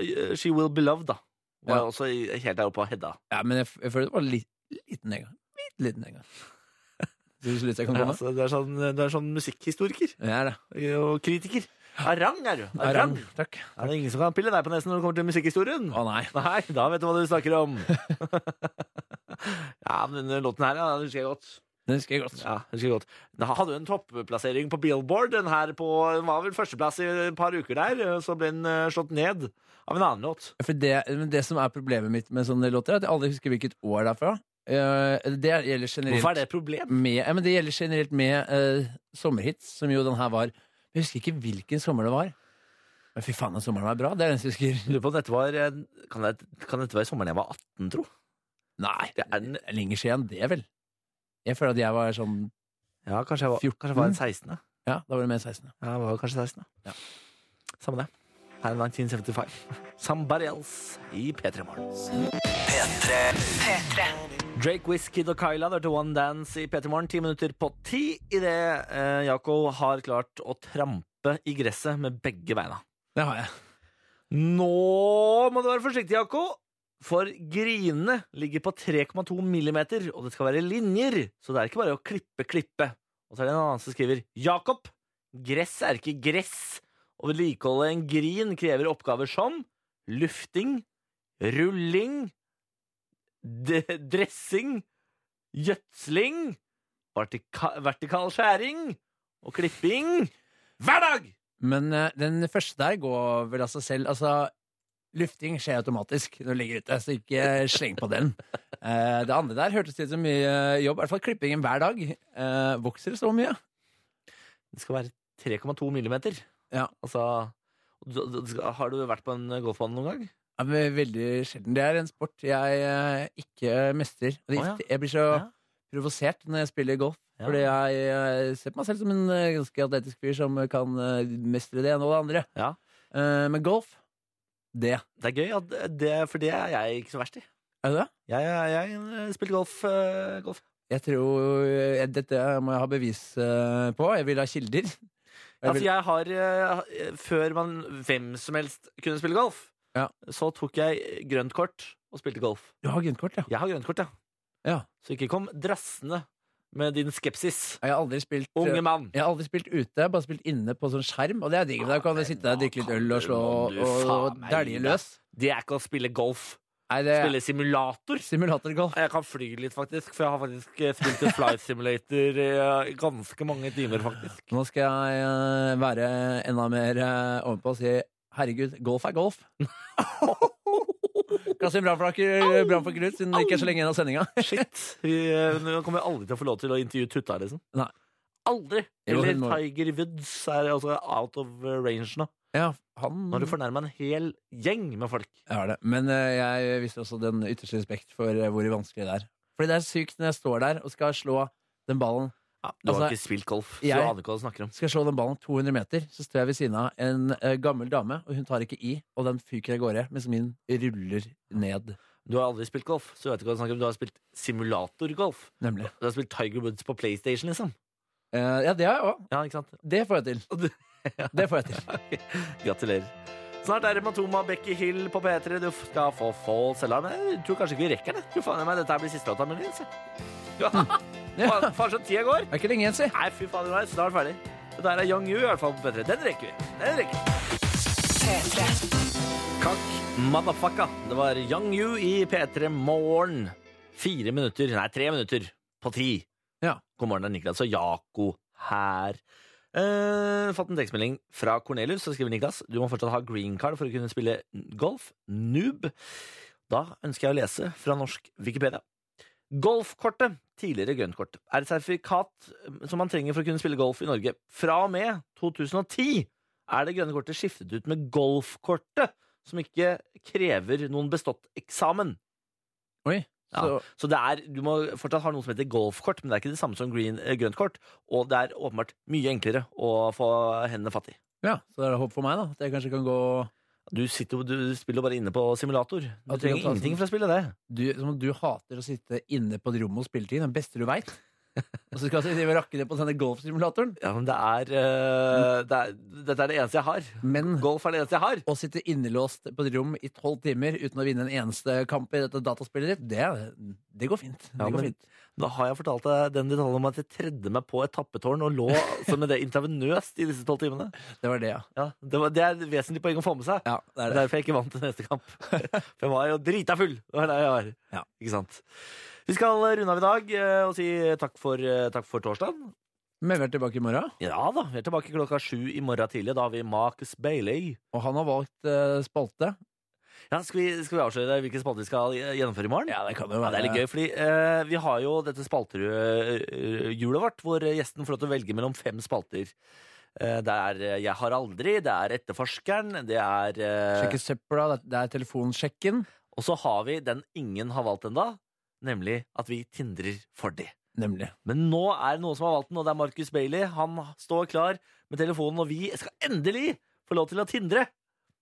B: eh, She Will Be Loved da Var
C: Ja.
B: også i- helt der oppe av Hedda
C: Ja, men jeg, f- jeg føler det var litt, liten nedgang. Litt liten nedgang. Synes du litt jeg kan
B: Ja,
C: komme?
B: altså, du, er sånn, du er sånn musikkhistoriker
C: Jeg er det.
B: Eh, og kritiker. Arang er du.
C: Arang. Takk.
B: Ja, det er ingen som kan pille deg på nesen når det kommer til musikkhistorien.
C: Å nei.
B: Nei, da vet du hva du snakker om. ja, men denne låten her, ja, den husker jeg godt.
C: Den husker jeg godt.
B: Ja, den husker jeg godt. Den hadde jo en topplassering på Billboard. Den her på, den var vel førsteplass i et par uker der, så ble den eh, slått ned av en annen låt.
C: For det, men det som er problemet mitt med sånne låter, er at jeg aldri husker hvilket år det er fra. Eh, Det gjelder generelt
B: Hvorfor er det et problem?
C: med, ja, men det gjelder generelt med eh, sommerhits, som jo den her var. Jeg husker ikke hvilken sommer det var. Men fy faen, den sommeren var bra. Det er den jeg husker.
B: Lurer på om dette var eh, Kan det- kan dette være sommeren jeg var 18, tro?
C: Nei,
B: Det er den,
C: det er lenger siden det, vel. Jeg føler at jeg var sånn
B: ja, kanskje jeg var, kanskje jeg var en 16. Ja,
C: Ja, da var det mer 16.
B: jeg var kanskje 16.
C: Ja.
B: Samme det. Her er 1975. Somebody else i P3 Morgen.
D: P3.
B: Drake, Wiz, Kid og Kyla, det er til One Dance i P3 Morgen. Ti minutter på ti idet eh, Jakob har klart å trampe i gresset med begge beina.
C: Det har jeg.
B: Nå må du være forsiktig, Jakob, for grinene ligger på 3,2 millimeter, og det skal være linjer, så det er ikke bare å klippe, klippe. Og så er det en annen som skriver Jakob, gress er ikke gress. Å vedlikeholde en grin krever oppgaver som lufting, rulling, d dressing, gjødsling, vertika vertikal skjæring og klipping hver dag!
C: Men eh, den første der går vel av seg selv. Altså, lufting skjer automatisk når du ligger ute, så ikke sleng på den. Eh, det andre der hørtes ut som mye jobb. I hvert fall klippingen hver dag. Eh, vokser så mye.
B: Det skal være 3,2 millimeter.
C: Ja.
B: Altså, du, du, du, har du vært på en golfbane noen gang?
C: Ja, men veldig sjelden. Det er en sport jeg eh, ikke mestrer. Og det-
B: Å, ja.
C: Jeg blir så
B: Ja.
C: provosert når jeg spiller golf.
B: Ja.
C: Fordi jeg eh, ser på meg selv som en eh, ganske atletisk fyr som kan eh, mestre det ene og det andre.
B: Ja.
C: Eh, men golf, det
B: Det er gøy, at det, for det er jeg ikke så verst i.
C: Er det det?
B: Jeg, jeg, jeg spilte golf, eh, golf.
C: Jeg tror eh, Dette må jeg ha bevis eh, på. Jeg vil ha kilder. Jeg
B: Altså,
C: vil,
B: jeg har eh, Før man hvem som helst kunne spille golf,
C: Ja.
B: så tok jeg grønt kort og spilte golf.
C: du har grønt kort, ja.
B: Jeg har grønt kort, ja.
C: Ja.
B: Så ikke kom drassende med din skepsis,
C: Jeg har aldri spilt eh,
B: unge mann.
C: jeg har aldri spilt ute, bare spilt inne på sånn skjerm. Og det er digg. Da kan du sitte der, drikke litt øl og slå
B: Nå kan
C: og,
B: du
C: og,
B: faen meg gi
C: dælje
B: deg.
C: løs.
B: Det er ikke å spille golf.
C: Nei, det
B: Spille simulator.
C: Simulatorgolf.
B: Jeg kan fly litt, faktisk, for jeg har faktisk eh, spilt en flight simulator eh, i ganske mange timer, faktisk.
C: Nå skal jeg eh, være enda mer eh, ovenpå og si herregud, golf er golf. Kastin Brannflaker Brannflaker Knut, siden det ikke er så lenge igjen av sendinga.
B: Shit. Vi, eh, nå kommer jeg aldri til å få lov til å intervjue Tutta, liksom.
C: Nei.
B: Aldri!
C: Jo,
B: Eller
C: hun må-
B: Tiger Woods er også out of eh, range nå.
C: Ja, han
B: Nå har du fornærma en hel gjeng med folk.
C: Jeg har det. Men eh, jeg viser også den ytterste respekt for eh, hvor vanskelig det er. Fordi det er sykt når jeg står der og skal slå den ballen
B: du har
C: altså,
B: ikke spilt golf, så
C: jeg-
B: du aner ikke hva du snakker om.
C: Skal jeg slå den ballen 200 meter, så står jeg ved siden av en eh, gammel dame, og hun tar ikke i, og den fyker av gårde, mens min ruller ned.
B: Du har aldri spilt golf, så du vet ikke hva du snakker om. Du har spilt simulatorgolf.
C: Nemlig.
B: Du har spilt Tiger Woods på PlayStation, liksom.
C: Eh, ja, det har jeg òg.
B: Ja, ikke sant?
C: Det får jeg til. Det får jeg til.
B: Gratulerer. Snart er det Matoma Becky Hill på P3. Du skal få false alarm. Jeg tror kanskje ikke vi rekker det. Tror faen i meg dette her blir siste låta muligens. jeg. Ja.
C: Mm.
B: Faen, faen så tida går.
C: Det er ikke lenge igjen, si.
B: Nei, fy faen, det er snart ferdig. Dette her er Young You i hvert fall på P3. Den rekker vi. Den rekker vi.
D: P3.
B: Kakk, motherfucka. Det var Young You i P3 Morgen. Fire minutter, nei, tre minutter på ti.
C: Ja.
B: God morgen, det er Niklas og Jako her. Eh, fått en tekstmelding fra Cornelius, som skriver Niklas. Du må fortsatt ha green card for å kunne spille golf. Noob. Da ønsker jeg å lese fra norsk Wikipedia. Golfkortet, tidligere grønt kort, er et sertifikat eh, som man trenger for å kunne spille golf i Norge. Fra og med 2010 er det grønne kortet skiftet ut med golfkortet, som ikke krever noen bestått eksamen.
C: Oi.
B: Ja.
C: Så,
B: Så det er, du må fortsatt ha noe som heter golfkort, men det er ikke det samme som green, eh, grønt kort. Og det er åpenbart mye enklere å få hendene fatt i.
C: ja, så det er håp for meg, da. At jeg kanskje kan gå
B: Du, sitter, jo- du spiller jo bare inne på simulator. Du
C: Ja, du kan
B: trenger
C: ta
B: ingenting
C: sånn.
B: for å spille det.
C: du, som om du hater å sitte inne på et rom og spille ting. Det er det beste du veit. Og så skal vi drive og rakke ned på denne golfsimulatoren.
B: Ja, men det er, eh, det er Dette er det eneste jeg har.
C: Men
B: Golf er det eneste jeg har.
C: å sitte innelåst på et rom i tolv timer uten å vinne en eneste kamp i dette dataspillet ditt, det, det går fint. Det
B: Ja,
C: går
B: men-
C: fint.
B: Nå har jeg fortalt deg den detaljen om at jeg tredde meg på et tappetårn og lå altså, med det intravenøst i disse tolv timene.
C: Det var det, ja.
B: Ja, det, var, det er et vesentlig poeng å få med seg.
C: ja det
B: Det
C: er
B: er
C: det.
B: derfor jeg ikke vant til neste kamp. For jeg var jo drita full. Det var der jeg var.
C: Ja.
B: Ikke sant? Vi skal runde av i dag eh, og si takk for, eh, takk for torsdagen.
C: Men vi er tilbake i morgen,
B: Ja da, vi er tilbake klokka sju i morgen tidlig. Da har vi Marcus Bailey.
C: og han har valgt eh, spalte.
B: Ja, skal, vi, skal vi avsløre hvilken spalte vi skal eh, gjennomføre i morgen?
C: Ja, det kan jo
B: Ja, det er litt gøy, fordi eh, vi har jo dette spalterhjulet vårt, hvor eh, gjesten får lov til å velge mellom fem spalter. Eh, det er eh, Jeg har aldri, det er Etterforskeren, det er eh,
C: Sjekke søpla, det er- det er telefonsjekken.
B: Og så har vi den ingen har valgt enda, nemlig at vi tindrer for de.
C: Nemlig.
B: Men nå er det noen som har valgt den, og det er Marcus Bailey. Han står klar med telefonen, og vi skal endelig få lov til å tindre!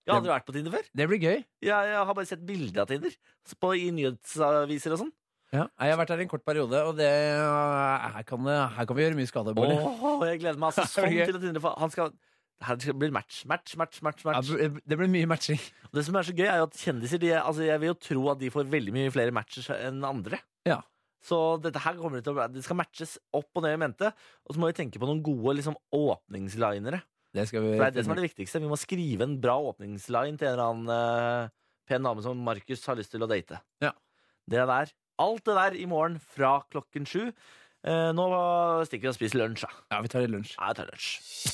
B: Jeg har aldri vært på Tinder før.
C: Det blir gøy.
B: Jeg, jeg har bare sett bilder av Tinder på, i nyhetsaviser og sånn.
C: Ja. Nei, Jeg har vært der i en kort periode, og det, eh, her, kan, det- her kan vi gjøre mye skade. Bård.
B: Åh, jeg gleder meg altså sånn
C: gøy.
B: til å tindre. for Han skal, her skal- blir det match, match, match, match.
C: Ja,
B: match.
C: det blir mye matching.
B: Og det som er så gøy, er jo at kjendiser de, er- altså, Jeg vil jo tro at de får veldig mye flere matcher enn andre.
C: Ja.
B: Så dette her kommer det til å bli Det skal matches opp og ned i mente. Og så må vi tenke på noen gode liksom, åpningslinere.
C: Det skal vi
B: For det er det som er det viktigste. Vi må skrive en bra åpningsline til en eller annen eh, pen dame som Markus har lyst til å date.
C: Ja.
B: Det der. Alt det der i morgen fra klokken sju. Eh, nå stikker vi og spiser lunsj, da.
C: Ja, vi tar litt lunsj.
B: Jeg tar lunsj.